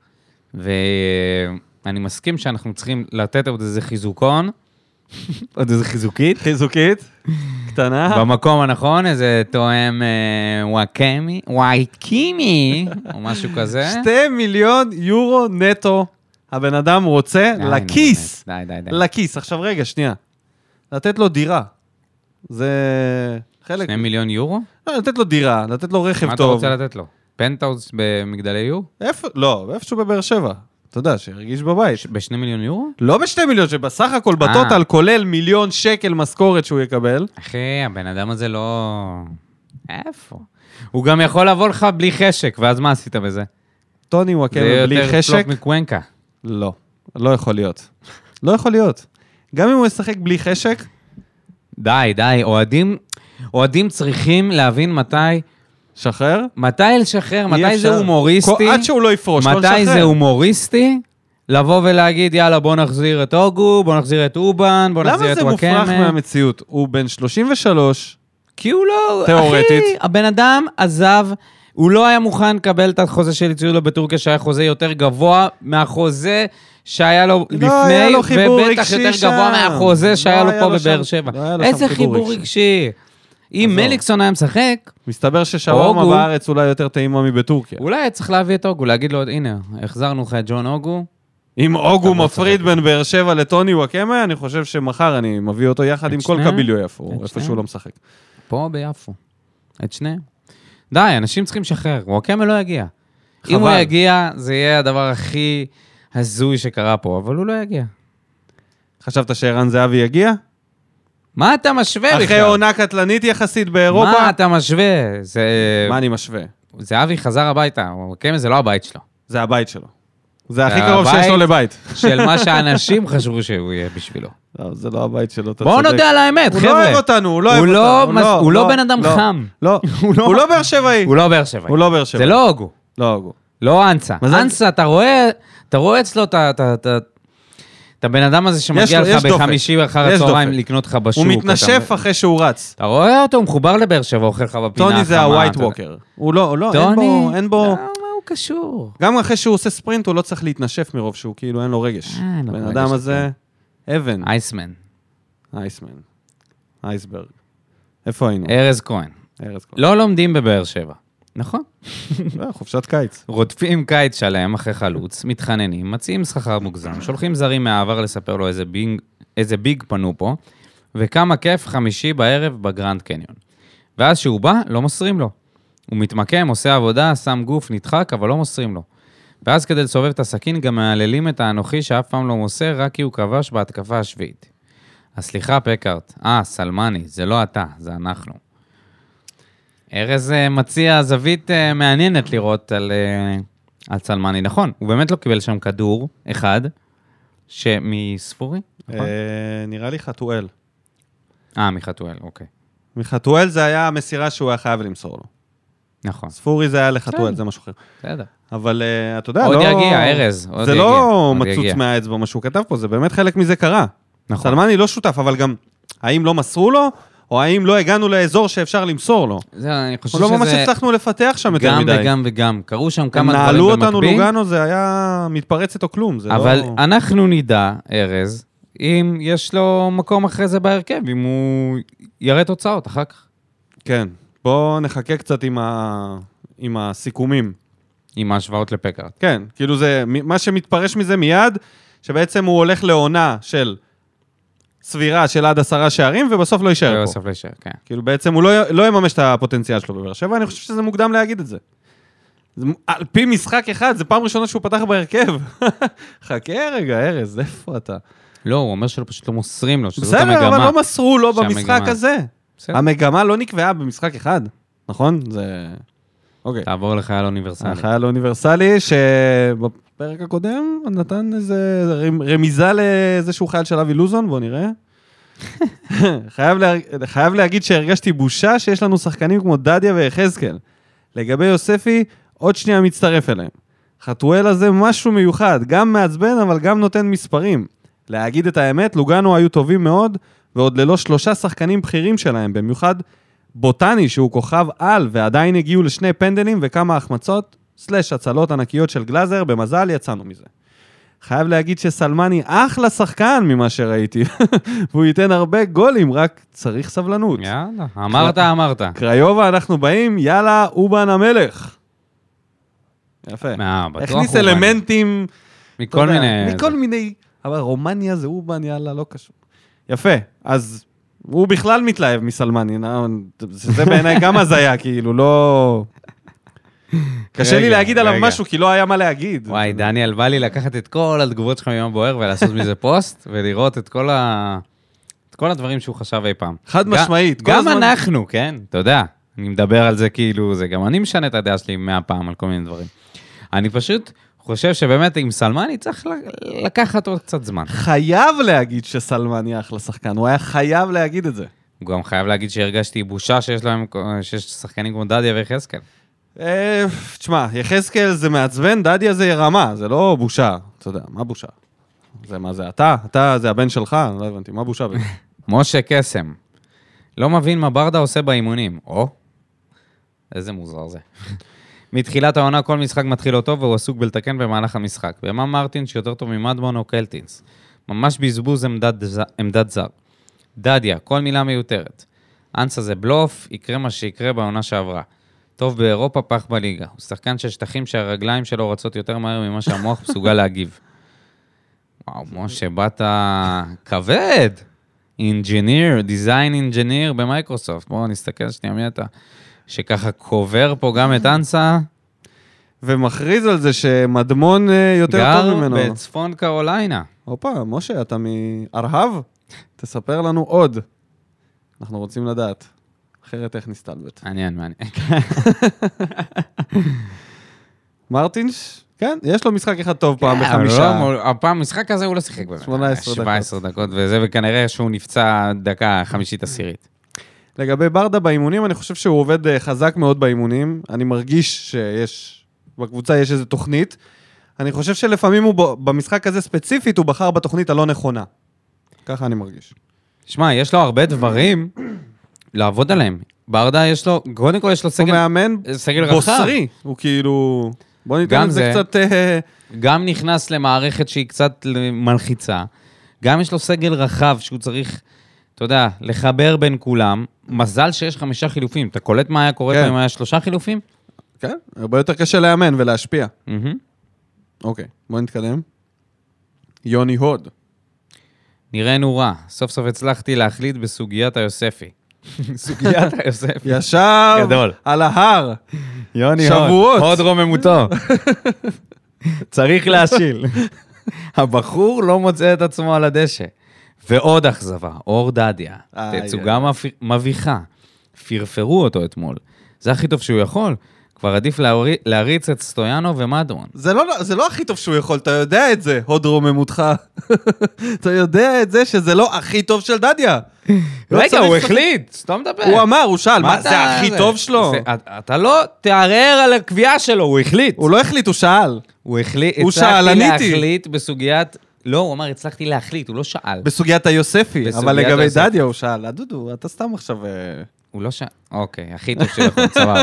ואני מסכים שאנחנו צריכים לתת עוד איזה חיזוקון, עוד איזה חיזוקית, חיזוקית, קטנה. במקום הנכון, איזה תואם אה, וואקמי, וואיקימי, או משהו כזה. שתי מיליון יורו נטו, הבן אדם רוצה די, נו, לכיס. באמת, די, די, די. לכיס. עכשיו רגע, שנייה. לתת לו דירה. זה חלק... שני מיליון יורו? לא, לתת לו דירה, לתת לו רכב טוב. מה אתה רוצה לתת לו? פנטהאוס במגדלי יור? איפה? לא, איפשהו בבאר שבע. אתה יודע, שירגיש בבית. בשני מיליון יורו? לא בשתי מיליון, שבסך הכל אה. בטוטל כולל מיליון שקל משכורת שהוא יקבל. אחי, הבן אדם הזה לא... איפה? הוא גם יכול לבוא לך בלי חשק, ואז מה עשית בזה? טוני זה וואקמה כן, בלי יותר חשק? פלופ מקוונקה. לא, לא יכול להיות. לא יכול להיות. גם אם הוא ישחק בלי חשק, די, די, אוהדים, אוהדים צריכים להבין מתי, שחרר. מתי לשחרר, אי מתי אפשר. זה הומוריסטי, כל- עד שהוא לא יפרוש, לא לשחרר. מתי זה הומוריסטי, לבוא ולהגיד, יאללה, בוא נחזיר את אוגו, בוא נחזיר את אובן, בוא נחזיר למה את זה וואקמה. מופרך מהמציאות? הוא בן 33, כי הוא לא... תיאורטית. אחי, הבן אדם עזב, הוא לא היה מוכן לקבל את החוזה של יציאות לו בטורקיה, שהיה חוזה יותר גבוה מהחוזה שהיה לו לפני, לא היה לו חיבור ובטח רגשי יותר שם. גבוה מהחוזה לא שהיה לו היה פה לו בבאר שם- שבע. לא היה לו שם איזה חיבור חיבור רגשי. רגשי. אם עזוב. מליקסון היה משחק, מסתבר ששווארמה אוגו. בארץ אולי יותר טעימה מבטורקיה. אולי היה צריך להביא את אוגו, להגיד לו, הנה, החזרנו לך את ג'ון אוגו. אם אוגו אתה לא מפריד בין באר שבע לטוני וואקמה, אני חושב שמחר אני מביא אותו יחד את עם כל שניהם? קביליו יפו, את איפה שהוא שניהם? לא משחק. פה ביפו. את שניהם. די, אנשים צריכים לשחרר. וואקמה לא יגיע. חבל. חבל. אם הוא יגיע, זה יהיה הדבר הכי הזוי שקרה פה, אבל הוא לא יגיע. חשבת שערן זהבי יגיע? מה אתה משווה בכלל? אחרי עונה קטלנית יחסית באירופה? מה אתה משווה? זה... מה אני משווה? זהבי חזר הביתה, וואקמה זה לא הבית שלו. זה הבית שלו. זה הכי זה קרוב שיש לו הבית? לבית. של מה שהאנשים חשבו שהוא יהיה בשבילו. לא, זה לא הבית שלו, אתה צודק. בואו נודה על האמת, הוא חבר'ה. לא אוהב אותנו, הוא לא אוהב הוא לא אותנו. מס- הוא לא בן אדם חם. לא, הוא לא באר שבעי. הוא לא באר שבעי. הוא לא באר שבעי. זה לא הוגו, לא הוגו. לא אנסה. מזל- אנסה, אתה רואה, אתה רואה אצלו את ה- את ה- את ה- את הבן אדם הזה יש לו- שמגיע יש לך דופק. בחמישי אחר יש הצהריים דופק. לקנות לך בשוק. הוא אתה- מתנשף אחרי שהוא רץ. אתה רואה אותו, הוא מחובר לבאר שבע, אוכל לך בפינה החמה. טוני זה אתה הווייט יודע. ווקר. הוא לא, לא, אין בו, טוני? אין בו... לא, מה הוא קשור? גם אחרי שהוא עושה ספרינט, הוא לא צריך להתנשף מרוב שהוא, כאילו, אין לו רגש. אה, אין לו בן רגש, אדם כן. הזה, אבן, אייסמן, אייסמן, אייסברג. איפה היינו? ארז כהן. ארז כהן. לא לומדים בבאר שבע. נכון. לא, חופשת קיץ. רודפים קיץ שלם אחרי חלוץ, מתחננים, מציעים שכר מוגזם, שולחים זרים מהעבר לספר לו איזה ביג, איזה ביג פנו פה, וכמה כיף חמישי בערב בגרנד קניון. ואז שהוא בא, לא מוסרים לו. הוא מתמקם, עושה עבודה, שם גוף, נדחק, אבל לא מוסרים לו. ואז כדי לסובב את הסכין, גם מהללים את האנוכי שאף פעם לא מוסר, רק כי הוא כבש בהתקפה השביעית. אז סליחה, פקארט. אה, סלמני, זה לא אתה, זה אנחנו. ארז אה, מציע זווית אה, מעניינת לראות על, אה, על סלמני. נכון, הוא באמת לא קיבל שם כדור אחד, שמספורי? נכון? אה, נראה לי חתואל. אה, מחתואל, אוקיי. מחתואל זה היה המסירה שהוא היה חייב למסור לו. נכון, ספורי זה היה לחתואל, כן. זה משהו אחר. בסדר. אבל אה, אתה יודע, לא... עוד יגיע, ארז, עוד זה יגיע, לא עוד מצוץ יגיע. מהאצבע, מה שהוא כתב פה, זה באמת חלק מזה קרה. נכון. סלמני לא שותף, אבל גם, האם לא מסרו לו, או האם לא הגענו לאזור שאפשר למסור לו? זהו, אני חושב לא ממש שזה הצלחנו לפתח שם יותר גם מדי. וגם וגם. קרו שם הם כמה דברים נעלו במקביל. אותנו לוגנו, זה היה מתפרצת או כלום, זה אבל לא... אנחנו נדע, ארז, אם יש לו מקום אחרי זה בהרכב, אם הוא יראה תוצאות אחר כך. כן, בואו נחכה קצת עם, ה... עם הסיכומים. עם ההשוואות לפקארט. כן, כאילו זה, מ- מה שמתפרש מזה מיד, שבעצם הוא הולך לעונה של צבירה של עד עשרה שערים, ובסוף לא יישאר פה. בסוף לא יישאר, כן. כאילו בעצם הוא לא, י- לא יממש את הפוטנציאל שלו בבאר שבע, אני חושב שזה מוקדם להגיד את זה. זה מ- על פי משחק אחד, זו פעם ראשונה שהוא פתח בהרכב. חכה רגע, ארז, איפה אתה? לא, הוא אומר שלא פשוט לא מוסרים לו, שזאת המגמה. בסדר, אבל לא מסרו לו שהמגמה. במשחק הזה. בסדר. המגמה לא נקבעה במשחק אחד, נכון? זה... אוקיי. תעבור לחייל אוניברסלי. החייל האוניברסלי, שבפרק הקודם נתן איזה רמ- רמיזה לאיזשהו חייל של אבי לוזון, בואו נראה. חייב, לה... חייב להגיד שהרגשתי בושה שיש לנו שחקנים כמו דדיה ויחזקאל. לגבי יוספי, עוד שנייה מצטרף אליהם. חתואל הזה משהו מיוחד, גם מעצבן אבל גם נותן מספרים. להגיד את האמת, לוגנו היו טובים מאוד, ועוד ללא שלושה שחקנים בכירים שלהם, במיוחד בוטני, שהוא כוכב על, ועדיין הגיעו לשני פנדלים וכמה החמצות, סלאש הצלות ענקיות של גלאזר, במזל יצאנו מזה. חייב להגיד שסלמני אחלה שחקן ממה שראיתי, והוא ייתן הרבה גולים, רק צריך סבלנות. יאללה, אמרת, אמרת. קריובה, אנחנו באים, יאללה, אובן המלך. יפה. אה, בטוח כן. הכניס הוא בא. אלמנטים, אתה מכל יודע, מיני... מכל מיני, אבל רומניה זה אובן, יאללה, לא קשור. יפה, אז הוא בכלל מתלהב מסלמני, נא- שזה בעיניי גם הזיה, כאילו, לא... קשה לי רגע, להגיד עליו רגע. משהו, כי לא היה מה להגיד. וואי, דניאל, בא לי לקחת את כל התגובות שלך מיום בוער ולעשות מזה פוסט, ולראות את כל ה... את כל הדברים שהוא חשב אי פעם. חד ג- משמעית, כל גם הזמן- אנחנו, כן, אתה יודע. אני מדבר על זה כאילו, זה גם אני משנה את הדעה שלי מאה פעם על כל מיני דברים. אני פשוט חושב שבאמת עם סלמני צריך ל- לקחת עוד קצת זמן. חייב להגיד שסלמני אחלה שחקן, הוא היה חייב להגיד את זה. הוא גם חייב להגיד שהרגשתי בושה שיש להם, שיש שחקנים כמו דדיה ויחזקאל. אה, תשמע, יחזקאל זה מעצבן, דדיה זה רמה, זה לא בושה. אתה יודע, מה בושה? זה מה זה אתה? אתה זה הבן שלך? לא הבנתי, מה בושה בזה? משה קסם, לא מבין מה ברדה עושה באימונים. או, איזה מוזר זה. מתחילת העונה כל משחק מתחיל לא טוב והוא עסוק בלתקן במהלך המשחק. ומה מרטינס שיותר טוב ממדמון או קלטינס? ממש בזבוז עמדת, ז- עמדת זר. דדיה, כל מילה מיותרת. אנסה זה בלוף, יקרה מה שיקרה בעונה שעברה. טוב באירופה, פח בליגה. הוא שחקן של שטחים שהרגליים שלו רצות יותר מהר ממה שהמוח מסוגל להגיב. וואו, משה, באת כבד. אינג'יניר, דיזיין אינג'יניר במייקרוסופט. בואו נסתכל שנייה מי אתה. שככה קובר פה גם את אנסה, ומכריז על זה שמדמון אה, יותר גר טוב ממנו. בצפון קרוליינה. הופה, משה, אתה מארהב? תספר לנו עוד. אנחנו רוצים לדעת. אחרת איך נסתלבט. מעניין, מעניין. מרטינש? כן, יש לו משחק אחד טוב פעם אבל בחמישה. לא, הפעם, המשחק הזה הוא לא שיחק באמת. 18 דקות. 17 דקות וזה, וכנראה שהוא נפצע דקה חמישית עשירית. לגבי ברדה באימונים, אני חושב שהוא עובד אה, חזק מאוד באימונים. אני מרגיש שיש, בקבוצה יש איזו תוכנית. אני חושב שלפעמים הוא, ב- במשחק הזה ספציפית, הוא בחר בתוכנית הלא נכונה. ככה אני מרגיש. שמע, יש לו הרבה דברים לעבוד עליהם. ברדה יש לו, קודם כל יש לו הוא סגל, מאמן סגל רחב. בוסרי. הוא כאילו... בוא ניתן כן, גם את זה זה. קצת... אה, גם נכנס למערכת שהיא קצת מלחיצה, גם יש לו סגל רחב שהוא צריך, אתה יודע, לחבר בין כולם. מזל שיש חמישה חילופים. אתה קולט מה היה קורה כן. פה אם היה שלושה חילופים? כן, הרבה יותר קשה לאמן ולהשפיע. מהמם. אוקיי, בוא נתקדם. יוני הוד. נראינו רע. סוף סוף הצלחתי להחליט בסוגיית היוספי. סוגיית היוספי. ישב גדול. על ההר. יוני, הוד. שבועות. הוד רוממותו. צריך להשיל. הבחור לא מוצא את עצמו על הדשא. ועוד אכזבה, אור דדיה. איי, תצוגה מפ- מביכה. פרפרו אותו אתמול. זה הכי טוב שהוא יכול. כבר עדיף להורי- להריץ את סטויאנו ומדרון. זה לא, זה לא הכי טוב שהוא יכול, אתה יודע את זה, הוד רוממותך. אתה יודע את זה שזה לא הכי טוב של דדיה. לא רגע, צריך הוא לעשות- החליט, סתום את הפה. הוא אמר, הוא שאל, מה אתה- זה הכי טוב שלו? זה- אתה- אתה לא תערער על הקביעה שלו, הוא החליט. הוא לא החליט, הוא שאל. הוא החליט, הוא הצלחתי שאלניתי. להחליט בסוגיית... לא, הוא אמר, הצלחתי להחליט, הוא לא שאל. בסוגיית היוספי, בסוגיית אבל לגבי היוספי. דדיה הוא שאל. דודו, אתה סתם עכשיו... אה, הוא לא ש... אוקיי, הכי טוב שלכם, סבבה.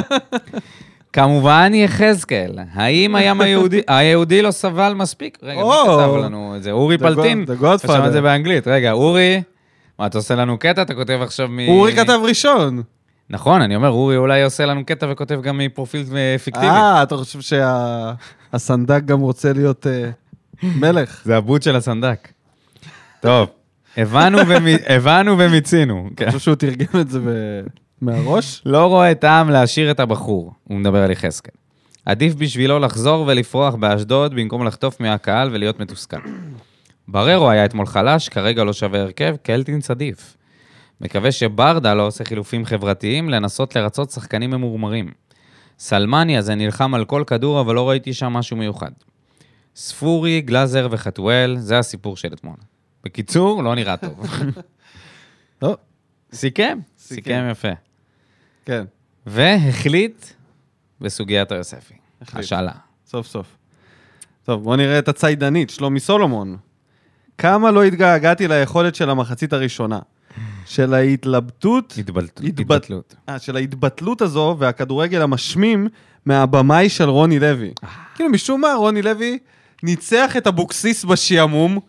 כמובן יחזקאל, האם הים היהודי, היהודי לא סבל מספיק? רגע, מי או. כתב לנו את זה? אורי The פלטין? God- The Godfather. רשם את זה באנגלית. רגע, אורי, מה, אתה עושה לנו קטע? אתה כותב עכשיו מ... אורי כתב ראשון. נכון, אני אומר, אורי אולי עושה לנו קטע וכותב גם מפרופיל אה, פיקטיבי. אה, אתה חושב שהסנדק גם רוצה להיות אה, מלך? זה הבוט של הסנדק. טוב, הבנו ומי- הבנו ומיצינו. כן. אני חושב שהוא תרגם את זה ב- מהראש? לא רואה טעם להשאיר את הבחור, הוא מדבר על יחזקאל. עדיף בשבילו לחזור ולפרוח באשדוד במקום לחטוף מהקהל ולהיות מתוסכל. בררו היה אתמול חלש, כרגע לא שווה הרכב, קלטינס עדיף. מקווה שברדה לא עושה חילופים חברתיים לנסות לרצות שחקנים ממורמרים. סלמני הזה נלחם על כל כדור, אבל לא ראיתי שם משהו מיוחד. ספורי, גלאזר וחתואל, זה הסיפור של אתמול. בקיצור, לא נראה טוב. לא, סיכם, סיכם סיכם. יפה. כן, והחליט בסוגיית היוספי. החליט. השאלה. סוף סוף. טוב, בואו נראה את הציידנית, שלומי סולומון. כמה לא התגעגעתי ליכולת של המחצית הראשונה. של ההתלבטות, התבלטות. התבט- אה, של ההתבטלות הזו והכדורגל המשמים מהבמאי של רוני לוי. כאילו, משום מה רוני לוי ניצח את אבוקסיס בשעמום,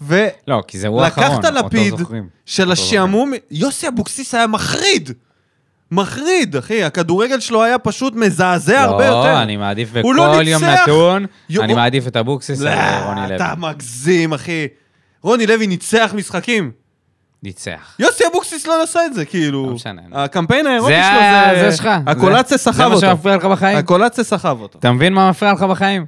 ו... לא, כי זה הוא האחרון, לקחת אותו לפיד זוכרים. של אותו השעמום, יוסי אבוקסיס היה מחריד. מחריד, אחי, הכדורגל שלו היה פשוט מזעזע הרבה יותר. לא, אני מעדיף הוא לא בכל יום ניצח. נתון, יו- אני מעדיף את אבוקסיס לא, על רוני לוי. אתה מגזים, אחי. רוני לוי ניצח משחקים. ניצח. יוסי אבוקסיס לא עשה את זה, כאילו. לא משנה. הקמפיין האירופי זה שלו ה- זה... זה שלך. הקולציה זה- זה סחב מה אותו. שמפריע לך בחיים. הקולציה סחב אותו. אתה מבין מה מפריע לך בחיים?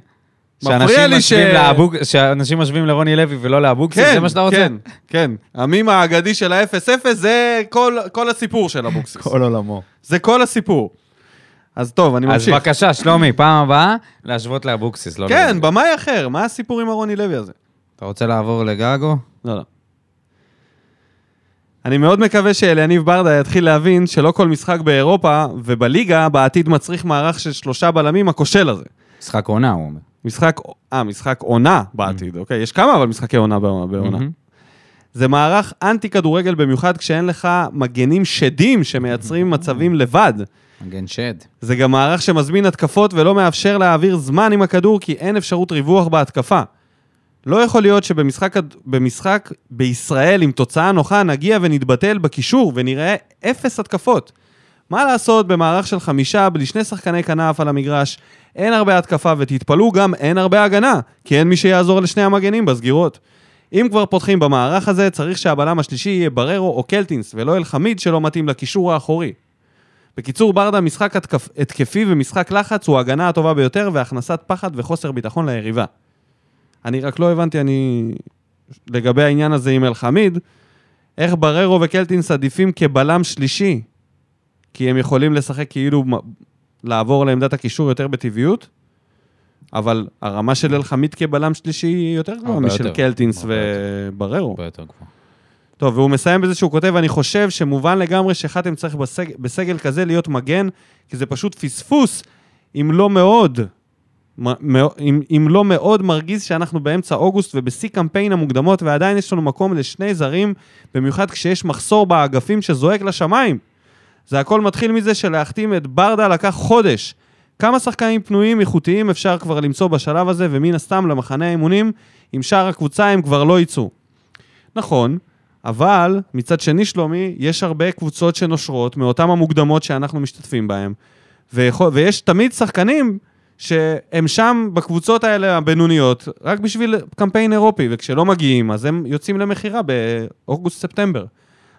מפריע שאנשים לי ש- משווים לאבוק- שאנשים משווים לרוני לוי ולא לאבוקסיס, כן, זה מה שאתה רוצה? כן, כן. המים האגדי של ה-0-0 זה כל כל הסיפור של אבוקסיס. עולמו. זה כל הסיפור. אז טוב, אני אז ממשיך. בבקשה, שלומי, פעם הבאה, להשוות לאבוקסיס, לא לרוני כן, לוי. במאי אחר, מה הסיפור עם הרוני לוי הזה? אתה רוצה לעבור לגגו? לא, לא. אני מאוד מקווה שאליניב ברדה יתחיל להבין שלא כל משחק באירופה ובליגה בעתיד מצריך מערך של שלושה בלמים הכושל הזה. משחק עונה, הוא אומר. משחק, אה, משחק עונה בעתיד, אוקיי? יש כמה אבל משחקי עונה בעונה. בעונה. מהמם. זה מערך אנטי כדורגל במיוחד כשאין לך מגנים שדים שמייצרים מצבים לבד. מגן שד. זה גם מערך שמזמין התקפות ולא מאפשר להעביר זמן עם הכדור כי אין אפשרות ריווח בהתקפה. לא יכול להיות שבמשחק הד- במשחק בישראל עם תוצאה נוחה נגיע ונתבטל בקישור ונראה אפס התקפות. מה לעשות במערך של חמישה בלי שני שחקני כנף על המגרש, אין הרבה התקפה ותתפלאו גם אין הרבה הגנה, כי אין מי שיעזור לשני המגנים בסגירות. אם כבר פותחים במערך הזה, צריך שהבלם השלישי יהיה בררו או קלטינס ולא אלחמיד שלא מתאים לקישור האחורי. בקיצור, ברדה, משחק התקפ... התקפי ומשחק לחץ הוא ההגנה הטובה ביותר והכנסת פחד וחוסר ביטחון ליריבה. אני רק לא הבנתי, אני... לגבי העניין הזה עם אלחמיד, איך בררו וקלטינס עדיפים כבלם שלישי, כי הם יכולים לשחק כאילו מ- לעבור לעמדת הקישור יותר בטבעיות, אבל הרמה של אלחמיד כבלם שלישי היא יותר גבוהה הרבה משל יותר. קלטינס הרבה ובררו. הרבה יותר גבוה. טוב, והוא מסיים בזה שהוא כותב, אני חושב שמובן לגמרי שחתם צריך בסג... בסגל כזה להיות מגן, כי זה פשוט פספוס, אם לא מאוד, מ... מאו- אם... אם לא מאוד מרגיז שאנחנו באמצע אוגוסט ובשיא קמפיין המוקדמות, ועדיין יש לנו מקום לשני זרים, במיוחד כשיש מחסור באגפים שזועק לשמיים. זה הכל מתחיל מזה שלהחתים את ברדה לקח חודש. כמה שחקנים פנויים איכותיים אפשר כבר למצוא בשלב הזה, ומן הסתם למחנה האימונים, עם שאר הקבוצה הם כבר לא יצאו. נכון, אבל מצד שני, שלומי, יש הרבה קבוצות שנושרות מאותן המוקדמות שאנחנו משתתפים בהן, ויכול, ויש תמיד שחקנים שהם שם בקבוצות האלה הבינוניות, רק בשביל קמפיין אירופי, וכשלא מגיעים, אז הם יוצאים למכירה באוגוסט-ספטמבר.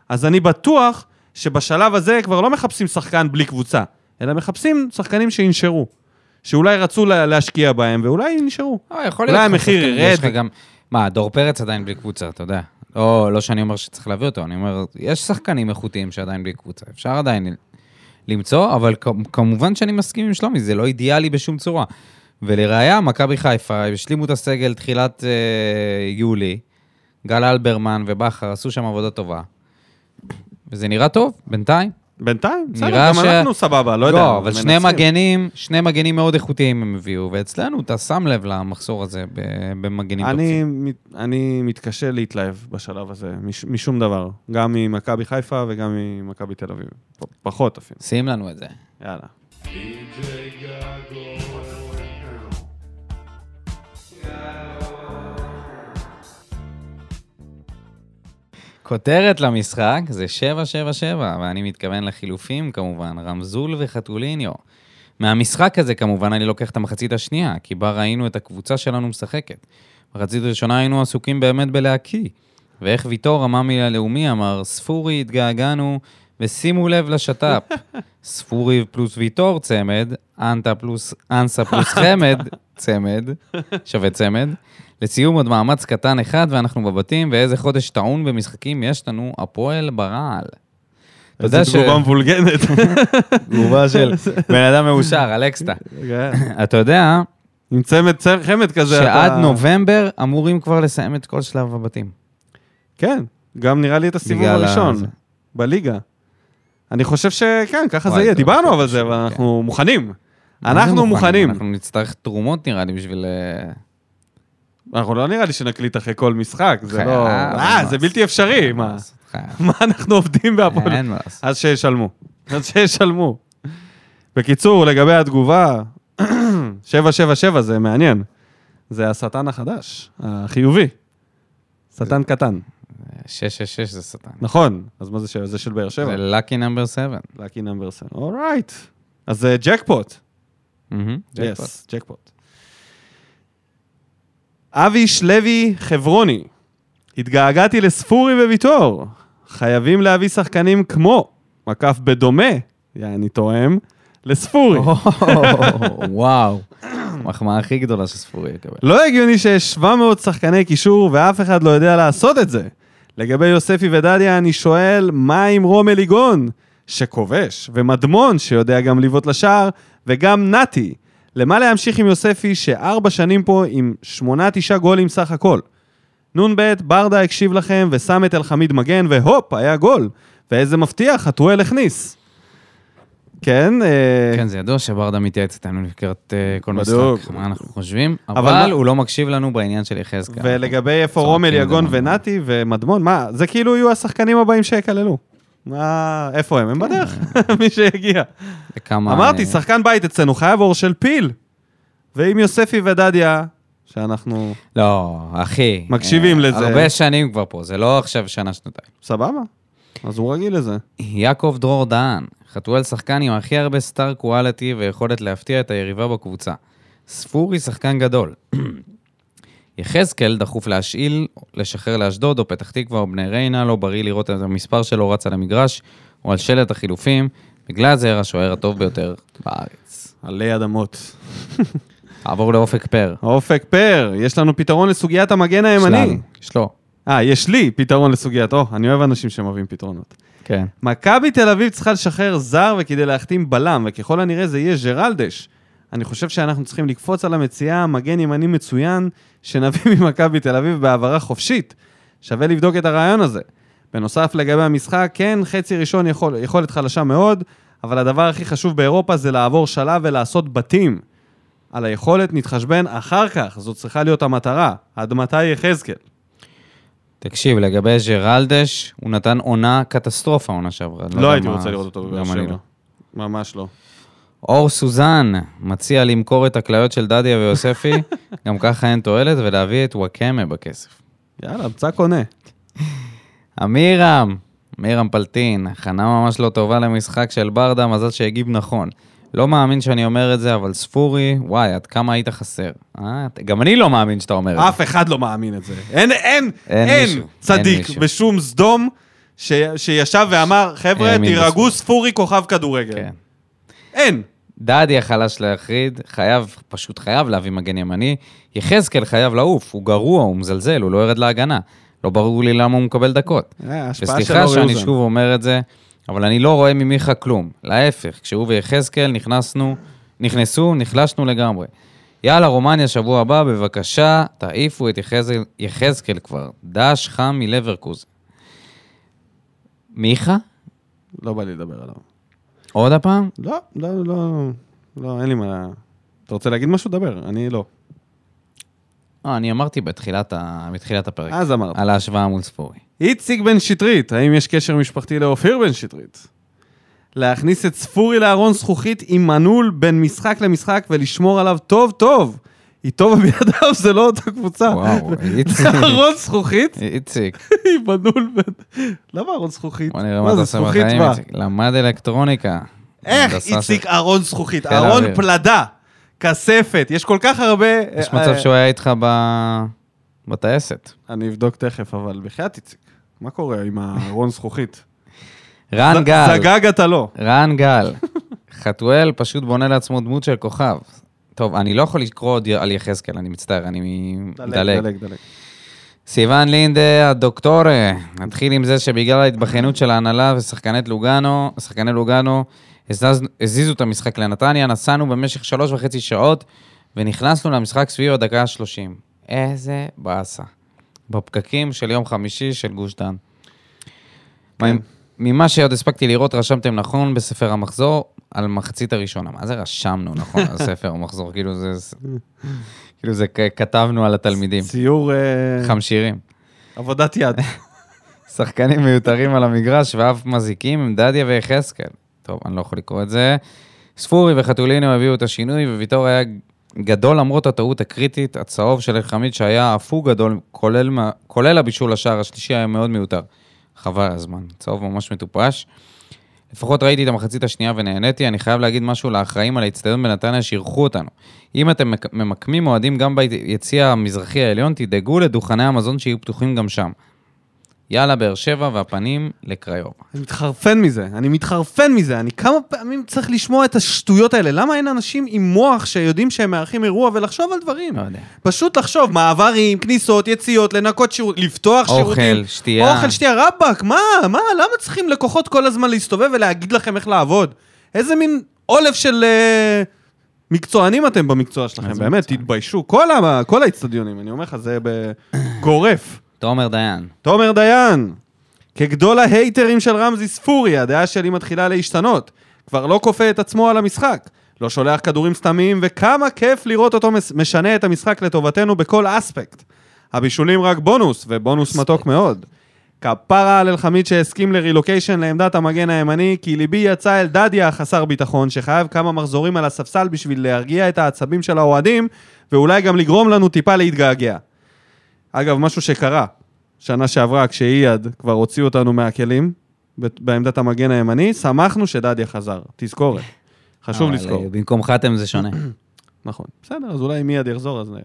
אז אני בטוח שבשלב הזה כבר לא מחפשים שחקן בלי קבוצה, אלא מחפשים שחקנים שינשרו, שאולי רצו לה- להשקיע בהם, ואולי ינשרו. אה, יכול אולי להיות. לך המחיר שחקן, ירד. יש לך גם... מה, דור פרץ עדיין בלי קבוצה, אתה יודע. לא, לא שאני אומר שצריך להביא אותו, אני אומר, יש שחקנים איכותיים שעדיין בלי קבוצה, אפשר עדיין ל- למצוא, אבל כ- כמובן שאני מסכים עם שלומי, זה לא אידיאלי בשום צורה. ולראיה, מכבי חיפה, השלימו את הסגל תחילת אה, יולי, גל אלברמן ובכר עשו שם עבודה טובה, וזה נראה טוב, בינתיים. בינתיים, בסדר, נראה גם ש- אנחנו סבבה, לא יודע. לא, אבל שני מנצחים. מגנים, שני מגנים מאוד איכותיים הם הביאו, ואצלנו, אתה שם לב למחסור הזה ב- במגנים אני, תוקפים. מת- אני מתקשה להתלהב בשלב הזה, מש, משום דבר. גם ממכבי חיפה וגם ממכבי תל אביב. פ- פחות אפילו. שים לנו את זה. יאללה. הכותרת למשחק זה 777, ואני מתכוון לחילופים כמובן, רמזול וחתוליניו. מהמשחק הזה כמובן אני לוקח את המחצית השנייה, כי בה ראינו את הקבוצה שלנו משחקת. במחצית הראשונה היינו עסוקים באמת בלהקיא. ואיך ויטור, המאמי הלאומי, אמר, ספורי, התגעגענו, ושימו לב לשת"פ. ספורי פלוס ויטור צמד, אנטה פלוס, אנסה פלוס חמד צמד, שווה צמד. לסיום עוד מאמץ קטן אחד ואנחנו בבתים, ואיזה חודש טעון במשחקים יש לנו הפועל ברעל. אתה איזה יודע ש... תגובה מבולגנת. תגובה של בן אדם מאושר, אלכסטה. אתה יודע עם צמד צמד- חמד כזה. שעד אתה- נובמבר אמורים כבר לסיים את כל שלב הבתים. כן, גם נראה לי את הסיבוב בגלל ה- הראשון זה. בליגה. אני חושב שכן, ככה זה וואי, יהיה. טוב, דיברנו טוב, אבל זה, כן. אבל אנחנו מוכנים. מה זה אנחנו מוכנים. אנחנו נצטרך תרומות נראה לי בשביל... אה, אנחנו לא נראה לי שנקליט אחרי כל משחק, זה חייב, לא... אין אה, מה זה לעשות. בלתי אפשרי, מה? לעשות, חייב. מה אנחנו עובדים בהפועל? אין מה לעשות. אז שישלמו. אז שישלמו. בקיצור, לגבי התגובה, 777 זה מעניין. זה השטן החדש, החיובי. שטן קטן, 666 זה שטן. נכון. אז מה זה ש... זה של באר שבע. זה לא- lucky number 7. לאקי נאמבר סן. אורייט. אז אה, זה ג'קפוט. יס, ג'קפוט. אביש לוי חברוני. התגעגעתי לספורי וויטור. חייבים להביא שחקנים כמו, מקף בדומה, יעני תואם, לספורי. וואו, המחמאה הכי גדולה שספורי יקבל. לא הגיוני שיש 700 שחקני קישור ואף אחד לא יודע לעשות את זה. לגבי יוספי ודדיה, אני שואל, מה עם רום אליגון, שכובש, ומדמון, שיודע גם לבעוט לשער, וגם נתי? למה להמשיך עם יוספי, שארבע שנים פה עם שמונה, תשעה גולים סך הכל? נ"ב, ברדה הקשיב לכם ושם את אלחמיד מגן, והופ, היה גול. ואיזה מפתיע, חתואל הכניס. כן, אה, כן, זה ידוע שברדה מתייעץ איתנו לקראת אה, כל בדיוק. משחק, מה אנחנו חושבים, מה- אבל הוא לא מקשיב לנו בעניין של יחזקאל. ולגבי איפה צועקים רומל, יגון דבר. ונתי ומדמון, מה, זה כאילו יהיו השחקנים הבאים שיקללו. מה, איפה הם? הם בדרך, מי שיגיע. וכמה, אמרתי, אה, שחקן בית אצלנו חייב אור של פיל. ועם יוספי ודדיה, שאנחנו לא, אחי. מקשיבים אה, לזה. הרבה שנים כבר פה, זה לא עכשיו שנה, שנתיים. סבבה, אז הוא רגיל לזה. יעקב דרור דהן, חתואל שחקן עם הכי הרבה סטאר קואליטי ויכולת להפתיע את היריבה בקבוצה. ספורי שחקן גדול. יחזקאל דחוף להשאיל, לשחרר לאשדוד או פתח תקווה או בני ריינה, לא בריא לראות את המספר שלו רץ על המגרש או על שלט החילופים, בגלאזר השוער הטוב ביותר בארץ. עלי אדמות. עבור לאופק פר. אופק פר, יש לנו פתרון לסוגיית המגן הימני. שלנו. שלו. אה, יש לי פתרון לסוגיית, או, אני אוהב אנשים שמביאים פתרונות. כן. מכבי תל אביב צריכה לשחרר זר וכדי להחתים בלם, וככל הנראה זה יהיה ג'רלדש. אני חושב שאנחנו צריכים לקפוץ על המציאה, מגן ימני מצוין, שנביא ממכבי תל אביב בהעברה חופשית. שווה לבדוק את הרעיון הזה. בנוסף, לגבי המשחק, כן, חצי ראשון יכול, יכולת חלשה מאוד, אבל הדבר הכי חשוב באירופה זה לעבור שלב ולעשות בתים. על היכולת נתחשבן אחר כך, זו צריכה להיות המטרה. עד מתי יחזקאל? תקשיב, לגבי ג'רלדש, הוא נתן עונה קטסטרופה עונה שעברה. אני לא יודע הייתי מה- רוצה לראות אותו בבאר גם אני שבע. לא. ממש לא. אור סוזן מציע למכור את הכליות של דדיה ויוספי, גם ככה אין תועלת, ולהביא את וואקמה בכסף. יאללה, בצע קונה. אמירם, אמירם פלטין, הכנה ממש לא טובה למשחק של ברדה, מזל שהגיב נכון. לא מאמין שאני אומר את זה, אבל ספורי, וואי, עד כמה היית חסר. אה, ת- גם אני לא מאמין שאתה אומר את זה. אף אחד לא מאמין את זה. אין, אין, אין אין מישהו, אין צדיק מישהו. בשום סדום ש- שישב ואמר, חבר'ה, האמין תירגעו, בספורי." ספורי כוכב כדורגל. כן. אין. דדיה חלש להחריד, חייב, פשוט חייב להביא מגן ימני. יחזקאל חייב לעוף, הוא גרוע, הוא מזלזל, הוא לא יורד להגנה. לא ברור לי למה הוא מקבל דקות. אה, וסליחה שאני שוב אומר את זה, אבל אני לא רואה ממיכה כלום. להפך, כשהוא ויחזקאל נכנסנו, נכנסו, נחלשנו לגמרי. יאללה, רומניה, שבוע הבא, בבקשה, תעיפו את יחזקאל- יחזקאל כבר. דש חם מלברקוז. מיכה? לא בא לי לדבר עליו. עוד הפעם? לא, לא, לא, לא, אין לי מה... אתה רוצה להגיד משהו? דבר, אני לא. לא, אני אמרתי בתחילת, ה... בתחילת הפרק. אז אמרת. על ההשוואה מול ספורי. איציק בן שטרית, האם יש קשר משפחתי לאופיר בן שטרית? להכניס את ספורי לארון זכוכית עם מנעול בין משחק למשחק ולשמור עליו טוב-טוב. איתו ובלעדיו זה לא אותה קבוצה. וואו, זה איציק. ארון זכוכית, איציק, היא בנול בן... למה ארון זכוכית? בוא נראה מה מה אתה זה, עושה זכוכית בחיים, מה? איציק. למד אלקטרוניקה. איך הנדסה איציק של- ארון זכוכית? חיל ארון האוויר. פלדה, כספת, יש כל כך הרבה... יש אה, מצב אה, שהוא היה איתך ב... בטייסת. אני אבדוק תכף, אבל בחייאת איציק, מה קורה עם הארון זכוכית? רן ז- גל, זגג אתה לא. רן גל, חתואל פשוט בונה לעצמו דמות של כוכב. טוב, אני לא יכול לקרוא עוד על יחזקאל, אני מצטער, אני מדלג. דלג. סיוון לינדה, הדוקטורה, נתחיל עם זה שבגלל ההתבחנות של ההנהלה ושחקני לוגנו, שחקני לוגנו, הזז- הזיזו את המשחק לנתניה, נסענו במשך שלוש וחצי שעות, ונכנסנו למשחק סביב הדקה השלושים. איזה באסה. בפקקים של יום חמישי של גוש דן. כן. ממה שעוד הספקתי לראות, רשמתם נכון בספר המחזור על מחצית הראשונה. מה זה רשמנו נכון על ספר המחזור? כאילו זה... כאילו זה כ- כתבנו על התלמידים. ציור אה, חמשירים. עבודת יד. שחקנים מיותרים על המגרש ואף מזיקים עם דדיה ויחזקאל. טוב, אני לא יכול לקרוא את זה. ספורי וחתולינו הביאו את השינוי, וויטור היה גדול למרות הטעות הקריטית, הצהוב של אלחמיד שהיה אף הוא גדול, כולל, מה- כולל הבישול לשער השלישי היה מאוד מיותר. חבל על הזמן, צהוב ממש מטופש. לפחות ראיתי את המחצית השנייה ונהניתי, אני חייב להגיד משהו לאחראים על האצטדיון בנתניה שאירחו אותנו. אם אתם מק- ממקמים אוהדים גם ביציע המזרחי העליון, תדאגו לדוכני המזון שיהיו פתוחים גם שם. יאללה, באר שבע והפנים לקריובה. אני מתחרפן מזה, אני מתחרפן מזה, אני כמה פעמים צריך לשמוע את השטויות האלה. למה אין אנשים עם מוח שיודעים שהם מארחים אירוע ולחשוב על דברים? לא יודע. פשוט לחשוב, מעברים, כניסות, יציאות, לנקות שירות, לפתוח שירותים. אוכל, שתייה. אוכל, שתייה, רבאק, מה, מה, למה צריכים לקוחות כל הזמן להסתובב ולהגיד לכם איך לעבוד? איזה מין עולף של אה, מקצוענים אתם במקצוע שלכם, איזה באמת, מקצוען. תתביישו. כל ה- כל האצטדיונים, אני אומר לך, זה בגורף. תומר דיין. תומר דיין, כגדול ההייטרים של רמזי ספורי, הדעה שלי מתחילה להשתנות. כבר לא כופה את עצמו על המשחק. לא שולח כדורים סתמיים, וכמה כיף לראות אותו מס- משנה את המשחק לטובתנו בכל אספקט. הבישולים רק בונוס, ובונוס מתוק מאוד. כפרה על אלחמיד שהסכים לרילוקיישן לעמדת המגן הימני, כי ליבי יצא אל דדיה החסר ביטחון, שחייב כמה מחזורים על הספסל בשביל להרגיע את העצבים של האוהדים, ואולי גם לגרום לנו טיפה להתגעגע. אגב, משהו שקרה שנה שעברה, כשאייד כבר הוציאו אותנו מהכלים, ב- בעמדת המגן הימני, שמחנו שדדיה חזר. תזכורת. חשוב אבל, לזכור. אה, במקום חתם זה שונה. נכון. בסדר, אז אולי מיד יחזור, אז... אה,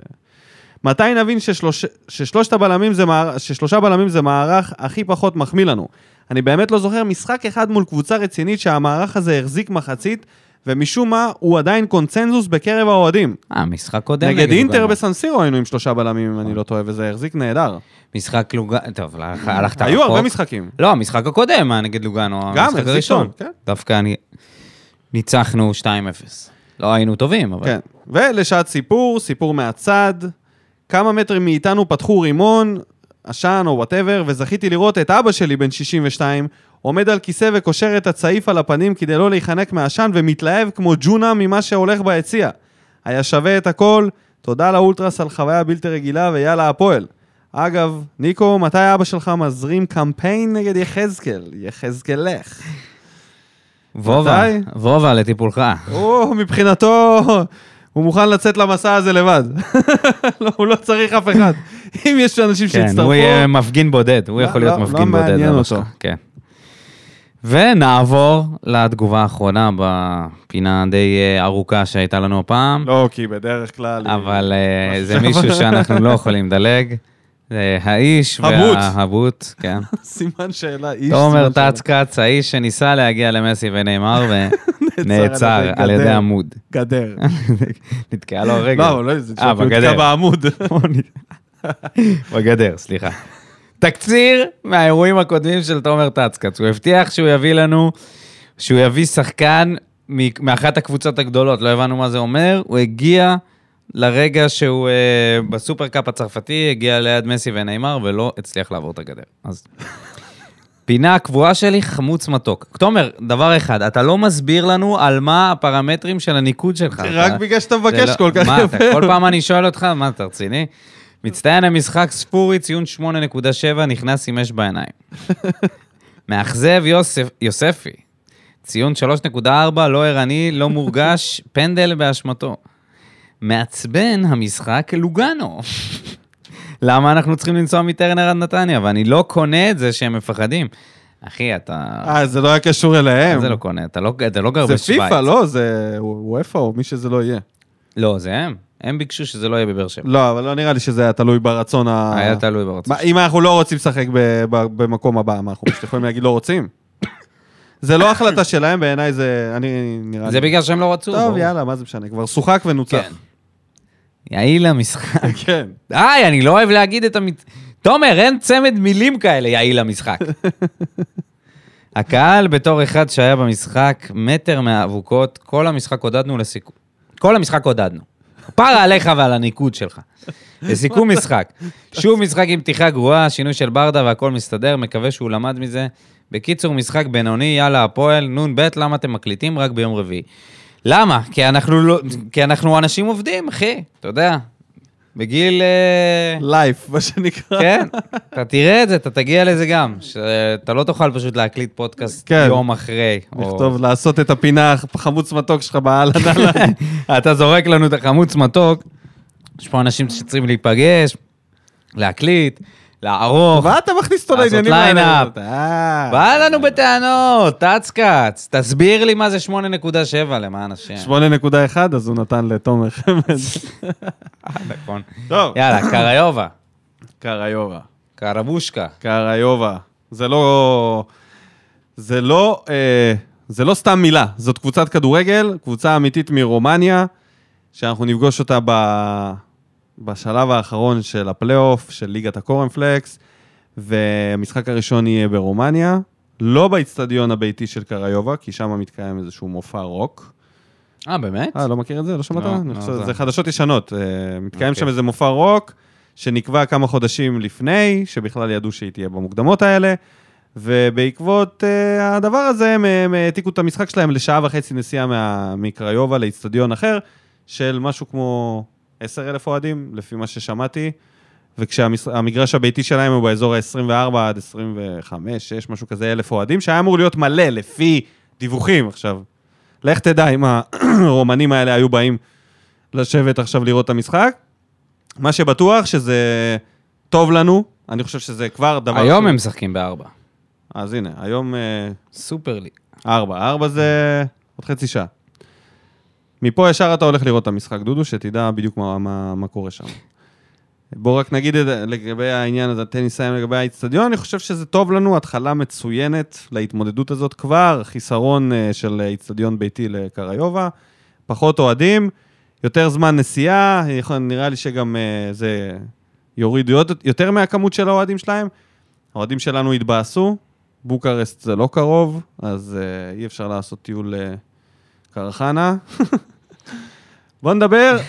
מתי נבין ששלוש, ששלושת הבלמים זה מער, ששלושה בלמים זה מערך הכי פחות מחמיא לנו? אני באמת לא זוכר משחק אחד מול קבוצה רצינית שהמערך הזה החזיק מחצית, ומשום מה הוא עדיין קונצנזוס בקרב האוהדים. אה, משחק קודם. נגד אינטר לוגנו. בסנסירו היינו עם שלושה בלמים, אם אני לא טועה, וזה החזיק נהדר. משחק לוגן... טוב, הלכ- הלכת רחוק. היו הרבה משחקים. לא, המשחק הקודם היה נגד לוגנו. גם, המשחק החזיק הראשון. טוב, כן. דווקא אני... ניצחנו 2-0. לא היינו טובים, אבל... כן. ולשעת סיפור, סיפור מהצד. כמה מטרים מאיתנו פתחו רימון, עשן או וואטאבר, וזכיתי לראות את אבא שלי, בן 62, עומד על כיסא וקושר את הצעיף על הפנים כדי לא להיחנק מהעשן, ומתלהב כמו ג'ונה ממה שהולך ביציע. היה שווה את הכל, תודה לאולטרס על חוויה בלתי רגילה, ויאללה הפועל. אגב, ניקו, מתי אבא שלך מזרים קמפיין נגד יחזקאל? יחזקאל לך. וובה, מתי? וובה לטיפולך. כן, הוא, מבחינתו, הוא מוכן לצאת למסע הזה לבד. לא, הוא לא צריך אף אחד. אם יש אנשים כן, שיצטרפו... הוא יהיה מפגין בודד. הוא לא- יכול להיות לא- לא מפגין בודד. מעניין אבא שלך. אותו. כן. ונעבור לתגובה האחרונה בפינה די אה, ארוכה שהייתה לנו הפעם. לא, כי בדרך כלל... היא- אבל אה, משהו זה שם. מישהו שאנחנו לא יכולים לדלג. זה האיש הבוט. וההבוט, כן. סימן שאלה, איש... תומר סימן שאלה. טאצקץ, האיש שניסה להגיע למסי ונאמר על ונעצר ידי על ידי גדר. עמוד. גדר. נתקעה לו הרגל. לא, אבל לא, זה אה, שהוא נתקע בגדר. בעמוד. בגדר, סליחה. תקציר מהאירועים הקודמים של תומר טאצקץ. הוא הבטיח שהוא יביא לנו, שהוא יביא שחקן מ- מאחת הקבוצות הגדולות, לא הבנו מה זה אומר. הוא הגיע לרגע שהוא אה, בסופרקאפ הצרפתי, הגיע ליד מסי ונאמר, ולא הצליח לעבור את הגדר. אז... פינה הקבועה שלי, חמוץ מתוק. תומר, דבר אחד, אתה לא מסביר לנו על מה הפרמטרים של הניקוד שלך. רק אתה- בגלל שאתה זה מבקש לא- כל כך מה, אתה- יפה. כל פעם אני שואל אותך, מה, אתה רציני? מצטיין המשחק, ספורי, ציון 8.7, נכנס עם אש בעיניים. מאכזב יוסף, יוספי, ציון 3.4, לא ערני, לא מורגש, פנדל באשמתו. מעצבן המשחק לוגנו. למה אנחנו צריכים לנסוע מטרנר עד נתניה? ואני לא קונה את זה שהם מפחדים. אחי, אתה... אה, זה לא היה קשור אליהם. זה לא קונה, אתה לא, אתה לא גר זה בשוויץ. פיפא, לא? זה וופא או מי שזה לא יהיה. לא, זה הם. הם ביקשו שזה לא יהיה בבאר שבע. לא, אבל לא נראה לי שזה היה תלוי ברצון ה... היה תלוי ברצון. מה, אם אנחנו לא רוצים לשחק ב- ב- במקום הבא, מה, אנחנו פשוט יכולים להגיד לא רוצים? זה לא החלטה שלהם, בעיניי זה... אני נראה זה לי... בגלל שהם לא רצו. טוב, ברור. יאללה, מה זה משנה? כבר שוחק ונוצח. כן. יעיל המשחק. כן. די, אני לא אוהב להגיד את המת... תומר, אין צמד מילים כאלה, יעיל המשחק. הקהל בתור אחד שהיה במשחק, מטר מהאבוקות, כל המשחק עודדנו לסיכום. כל המשחק עודדנו. פרה עליך ועל הניקוד שלך. לסיכום משחק. שוב משחק עם פתיחה גרועה, שינוי של ברדה והכל מסתדר, מקווה שהוא למד מזה. בקיצור, משחק בינוני, יאללה, הפועל, נ"ב, למה אתם מקליטים רק ביום רביעי? למה? כי אנחנו, לא, כי אנחנו אנשים עובדים, אחי, אתה יודע. בגיל... אה, לייף, מה שנקרא. כן, אתה תראה את זה, אתה תגיע לזה גם. שאתה לא תוכל פשוט להקליט פודקאסט כן. יום אחרי. או- לכתוב, לעשות את הפינה החמוץ מתוק שלך באהלן. אהלן. אתה זורק לנו את החמוץ מתוק, יש פה אנשים שצריכים להיפגש, להקליט, לערוך. מה אתה מכניס אותו אוקיי. לעשות לעניינים האלה? אה, ליינאפ. בא לנו בטענות, טאצקאץ, תסביר לי מה זה 8.7 למען השם. 8.1, אז הוא נתן לתומר חמד. נכון. טוב, יאללה, קריובה, קריובה. קרבושקה. קריובה. זה לא... זה לא... אה, זה לא סתם מילה, זאת קבוצת כדורגל, קבוצה אמיתית מרומניה, שאנחנו נפגוש אותה ב... בשלב האחרון של הפלייאוף, של ליגת הקורנפלקס, והמשחק הראשון יהיה ברומניה, לא באיצטדיון הביתי של קריובה, כי שם מתקיים איזשהו מופע רוק. אה, באמת? אה, לא מכיר את זה? לא שמעת? לא, אני לא, חושב- זה- זה חדשות ישנות. אה, מתקיים אוקיי. שם איזה מופע רוק, שנקבע כמה חודשים לפני, שבכלל ידעו שהיא תהיה במוקדמות האלה, ובעקבות אה, הדבר הזה הם- הם העתיקו את המשחק שלהם לשעה וחצי נסיעה מה- מקריובה לאיצטדיון אחר, של משהו כמו 10,000 אוהדים, לפי מה ששמעתי. וכשהמגרש הביתי שלהם הוא באזור ה-24 עד 25, 6, משהו כזה, אלף אוהדים, שהיה אמור להיות מלא לפי דיווחים עכשיו. לך תדע אם הרומנים האלה היו באים לשבת עכשיו לראות את המשחק. מה שבטוח שזה טוב לנו, אני חושב שזה כבר דבר... היום ש- הם משחקים בארבע. אז הנה, היום אה, סופר לי. ארבע. ארבע זה עוד חצי שעה. מפה ישר אתה הולך לראות את המשחק, דודו, שתדע בדיוק מה, מה, מה קורה שם. בוא רק נגיד את, לגבי העניין הזה, תן לי לסיים לגבי האיצטדיון, אני חושב שזה טוב לנו, התחלה מצוינת להתמודדות הזאת כבר, חיסרון אה, של איצטדיון ביתי לקריובה, פחות אוהדים, יותר זמן נסיעה, יכול- נראה לי שגם אה, זה יוריד עוד- יותר מהכמות של האוהדים שלהם. האוהדים שלנו התבאסו, בוקרשט זה לא קרוב, אז אה, אי אפשר לעשות טיול אה, קרחנה. בוא נדבר.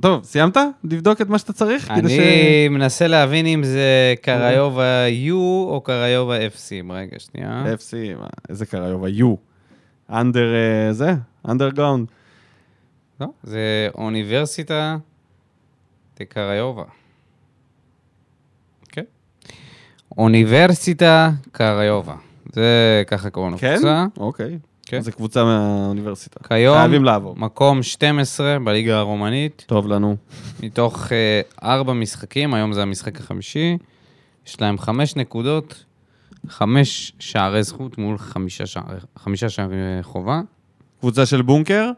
טוב, סיימת? לבדוק את מה שאתה צריך? כדי ש- אני מנסה להבין אם זה קריובה U או קריובה FC. רגע, שנייה. FC, מה, איזה קריובה, U. אנדר אה, זה? אנדרגראונד. לא, זה אוניברסיטה דקריובה. כן. אוניברסיטה קריובה. זה ככה קוראים כן? לקבוצה. אוקיי. כן. זה קבוצה מהאוניברסיטה. חייבים כיום, לעבור. מקום 12 בליגה הרומנית, טוב לנו. מתוך אה, ארבע משחקים, היום זה המשחק החמישי. יש להם חמש נקודות, חמש שערי זכות מול חמישה שערי- חמישה שערי חובה. קבוצה של בונקר,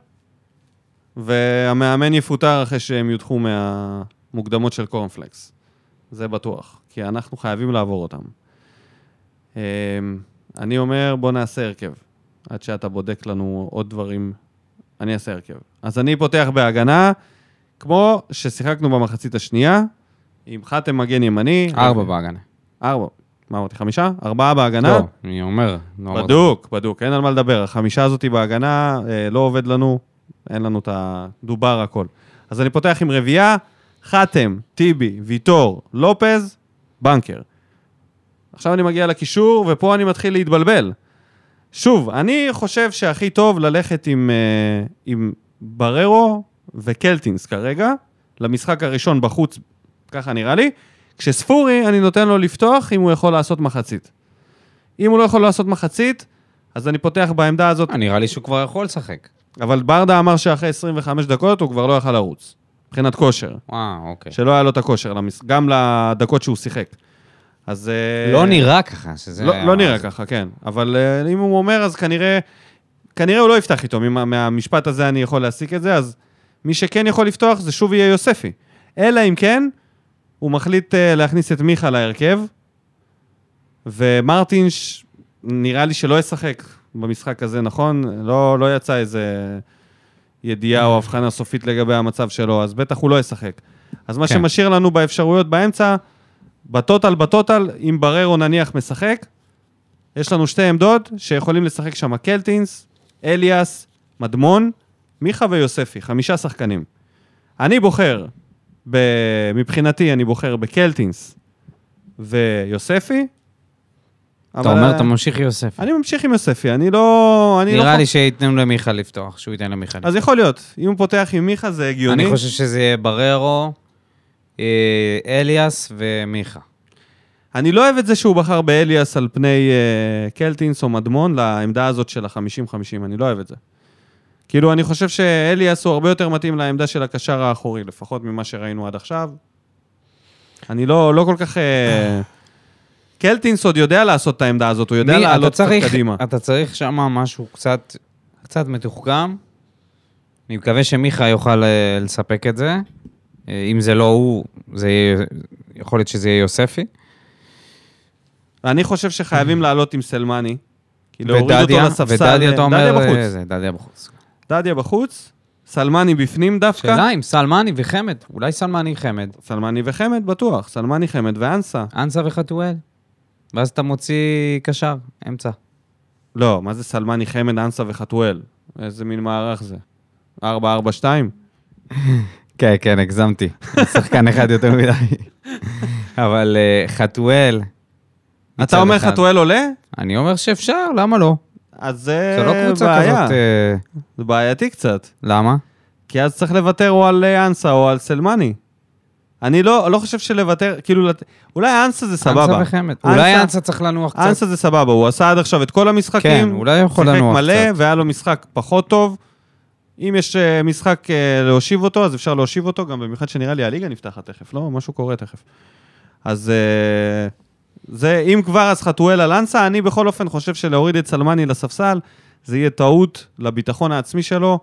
והמאמן יפוטר אחרי שהם יודחו מהמוקדמות של קורנפלקס. זה בטוח, כי אנחנו חייבים לעבור אותם. אמ, אני אומר, בוא נעשה הרכב, עד שאתה בודק לנו עוד דברים. אני אעשה הרכב. אז אני פותח בהגנה, כמו ששיחקנו במחצית השנייה, עם חתם מגן ימני. ארבע בהגנה. ארבע. מה אמרתי? חמישה? ארבעה בהגנה. לא, אני אומר. לא אמרתי. בדוק, בדוק, אין על מה לדבר. החמישה הזאתי בהגנה, אה, לא עובד לנו, אין לנו את ה... דובר הכל. אז אני פותח עם רביעייה, חתם, טיבי, ויטור, לופז, בנקר. עכשיו אני מגיע לקישור, ופה אני מתחיל להתבלבל. שוב, אני חושב שהכי טוב ללכת עם, אה, עם בררו וקלטינס כרגע, למשחק הראשון בחוץ, ככה נראה לי. כשספורי, אני נותן לו לפתוח אם הוא יכול לעשות מחצית. אם הוא לא יכול לעשות מחצית, אז אני פותח בעמדה הזאת. אה, נראה לי שהוא כבר יכול לשחק. אבל ברדה אמר שאחרי 25 דקות הוא כבר לא יכל לרוץ, מבחינת כושר. וואו, אוקיי. שלא היה לו את הכושר, למש- גם לדקות שהוא שיחק. אז... אה, לא נראה ככה, שזה... לא, לא נראה ככה, כן. אבל אה, אם הוא אומר, אז כנראה... כנראה הוא לא יפתח איתו, ממה- מהמשפט הזה אני יכול להסיק את זה, אז מי שכן יכול לפתוח זה שוב יהיה יוספי. אלא אם כן, הוא מחליט אה, להכניס את מיכה להרכב, ומרטין ש... נראה לי שלא ישחק במשחק הזה, נכון? לא, לא יצא איזה ידיעה או הבחנה סופית לגבי המצב שלו, אז בטח הוא לא ישחק. אז מה כן. שמשאיר לנו באפשרויות באמצע, בטוטל בטוטל, אם בררו נניח משחק, יש לנו שתי עמדות שיכולים לשחק שם קלטינס, אליאס, מדמון, מיכה ויוספי, חמישה שחקנים. אני בוחר, ב... מבחינתי אני בוחר בקלטינס ויוספי. אה, אתה אומר, אתה ממשיך יוסף. אני ממשיך עם יוספי, אני לא... אני לא נראה חו- לי שייתנו למיכה לפתוח, שהוא ייתן למיכה לפתוח. אז יכול להיות, אם הוא פותח עם מיכה זה הגיוני. אני חושב שזה יהיה בררו, אה, אליאס ומיכה. אני לא אוהב את זה שהוא בחר באליאס על פני אה, קלטינס או מדמון לעמדה הזאת של ה-50-50, אני לא אוהב את זה. כאילו, אני חושב שאליאס הוא הרבה יותר מתאים לעמדה של הקשר האחורי, לפחות ממה שראינו עד עכשיו. אני לא, לא כל כך... אה, קלטינס עוד יודע לעשות את העמדה הזאת, הוא יודע מי- אתה לעלות קצת צריך- קדימה. אתה צריך שם משהו קצת, קצת מתוחכם. אני מקווה שמיכה יוכל אה, לספק את זה. אה, אם זה לא הוא, זה יהיה, יכול להיות שזה יהיה יוספי. אני חושב שחייבים לעלות עם סלמני. כי להוריד כאילו, אותו ודדיה, לספסל... ודדיה, אתה אומר, דדיה אה, בחוץ. זה, דדיה בחוץ. דדיה בחוץ, סלמני בפנים דווקא. שאלה אם סלמני וחמד, אולי סלמני חמד, סלמני וחמד, בטוח. סלמני, חמד ואנסה. אנסה וחתואל. ואז אתה מוציא קשר, אמצע. לא, מה זה סלמני, חמד, אנסה וחתואל? איזה מין מערך זה? 4-4-2? כן, כן, הגזמתי. שחקן אחד יותר מדי. אבל אה, חתואל... מצד אתה אומר אחד. חתואל עולה? אני אומר שאפשר, למה לא? אז זה זה לא קבוצה בעיה. כזאת... אה, זה בעייתי קצת. למה? כי אז צריך לוותר או על אה, אנסה או על סלמני. אני לא, לא חושב שלוותר, כאילו, לת- אולי אנסה זה סבבה. אנסה וחמד. אולי אנסה צריך לנוח קצת. אנסה זה סבבה, הוא עשה עד עכשיו את כל המשחקים. כן, אולי יכול לנוח שיחק מלא, קצת. והיה לו משחק פחות טוב. אם יש אה, משחק אה, להושיב אותו, אז אפשר להושיב אותו, גם במיוחד שנראה לי הליגה נפתחת תכף, לא? משהו קורה תכף. אז אה, זה, אם כבר, אז חתואל על אנסה. אני בכל אופן חושב שלהוריד את סלמני לספסל, זה יהיה טעות לביטחון העצמי שלו.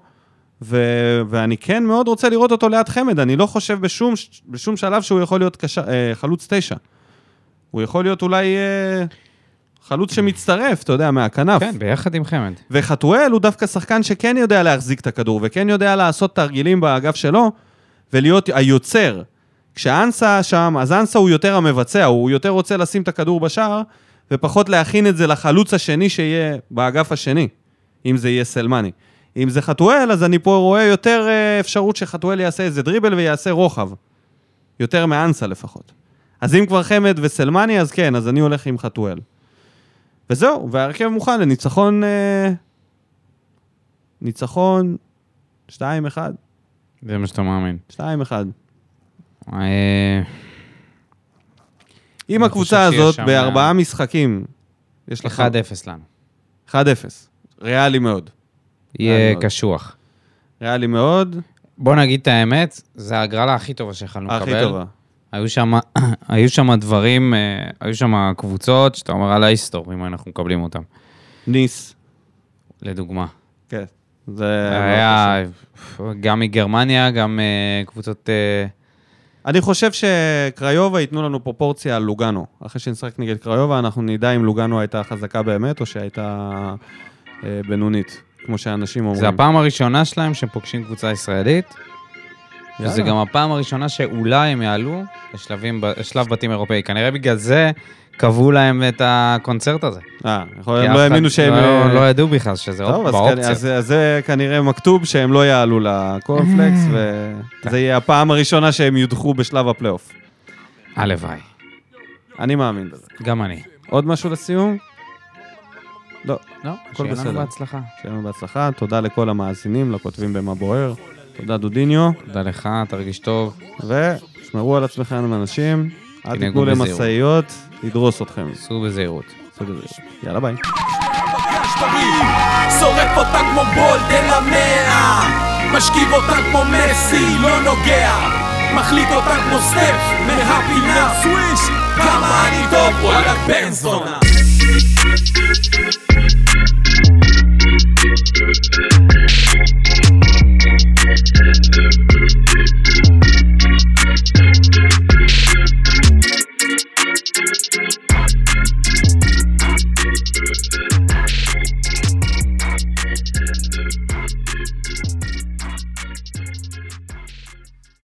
ו- ואני כן מאוד רוצה לראות אותו ליד חמד, אני לא חושב בשום, ש- בשום שלב שהוא יכול להיות קשר, אה, חלוץ תשע. הוא יכול להיות אולי אה, חלוץ שמצטרף, אתה יודע, מהכנף. כן, ביחד עם חמד. וחתואל הוא דווקא שחקן שכן יודע להחזיק את הכדור, וכן יודע לעשות תרגילים באגף שלו, ולהיות היוצר. כשאנסה שם, אז אנסה הוא יותר המבצע, הוא יותר רוצה לשים את הכדור בשער, ופחות להכין את זה לחלוץ השני שיהיה באגף השני, אם זה יהיה סלמני. אם זה חתואל, אז אני פה רואה יותר אה, אפשרות שחתואל יעשה איזה דריבל ויעשה רוחב. יותר מאנסה לפחות. אז אם כבר חמד וסלמני, אז כן, אז אני הולך עם חתואל. וזהו, וההרכב מוכן לניצחון... אה, ניצחון 2-1, זה מה שאתה מאמין. 2-1. אה, אם אני הקבוצה חושב שיש הזאת שם- בארבעה משחקים, יש לך 1-0 לנו. 1-0. ריאלי מאוד. יהיה מאוד. קשוח. ריאלי מאוד, בוא נגיד את האמת, זו ההגרלה הכי טובה שיכולנו לקבל. הכי טובה. היו שם, היו שם דברים, אה, היו שם קבוצות שאתה אומר על ההיסטור, אם אנחנו מקבלים אותם, ניס. לדוגמה. כן. זה... אה, היה לא גם מגרמניה, גם אה, קבוצות... אה, אני חושב שקריובה ייתנו לנו פרופורציה על לוגאנו. אחרי שנשחק נגד קריובה, אנחנו נדע אם לוגאנו הייתה חזקה באמת, או שהייתה אה, בינונית, כמו שאנשים אומרים. זה הפעם הראשונה שלהם שהם פוגשים קבוצה ישראלית, וזו יאללה. גם הפעם הראשונה שאולי הם יעלו לשלבים ב- לשלב בתים אירופאי. כנראה בגלל זה קבעו להם את הקונצרט הזה. אה, יכול כי להיות, אף הם לא אחד האמינו שהם... לא- אה, לא ידעו בכלל שזה טוב, עוד אז, כנ... באופציה. אז, אז זה כנראה מכתוב שהם לא יעלו לקורנפלקס, וזה יהיה הפעם הראשונה שהם יודחו בשלב הפלייאוף. הלוואי. אני מאמין בזה. גם אני. עוד משהו לסיום? לא. לא, שיהיה שיהיה לנו לנו בהצלחה. שיהיה לנו בהצלחה, תודה לכל המאזינים, לכותבים במה בוער, תודה דודיניו, תודה לך, תרגיש טוב. ושמרו על עצמכם אנשים, אל תנהגו תיתנו בזהירות. למשאיות לדרוס אתכם. סעו בזהירות. יאללה ביי. פגשתי משטרים שורף אותה כמו בולד אל המאה משכיב אותה כמו מסי, לא נוגע מחליק אותה כמו סטף מהפינה סוויש כמה אני טוב, וואלה בן זונה Thank you.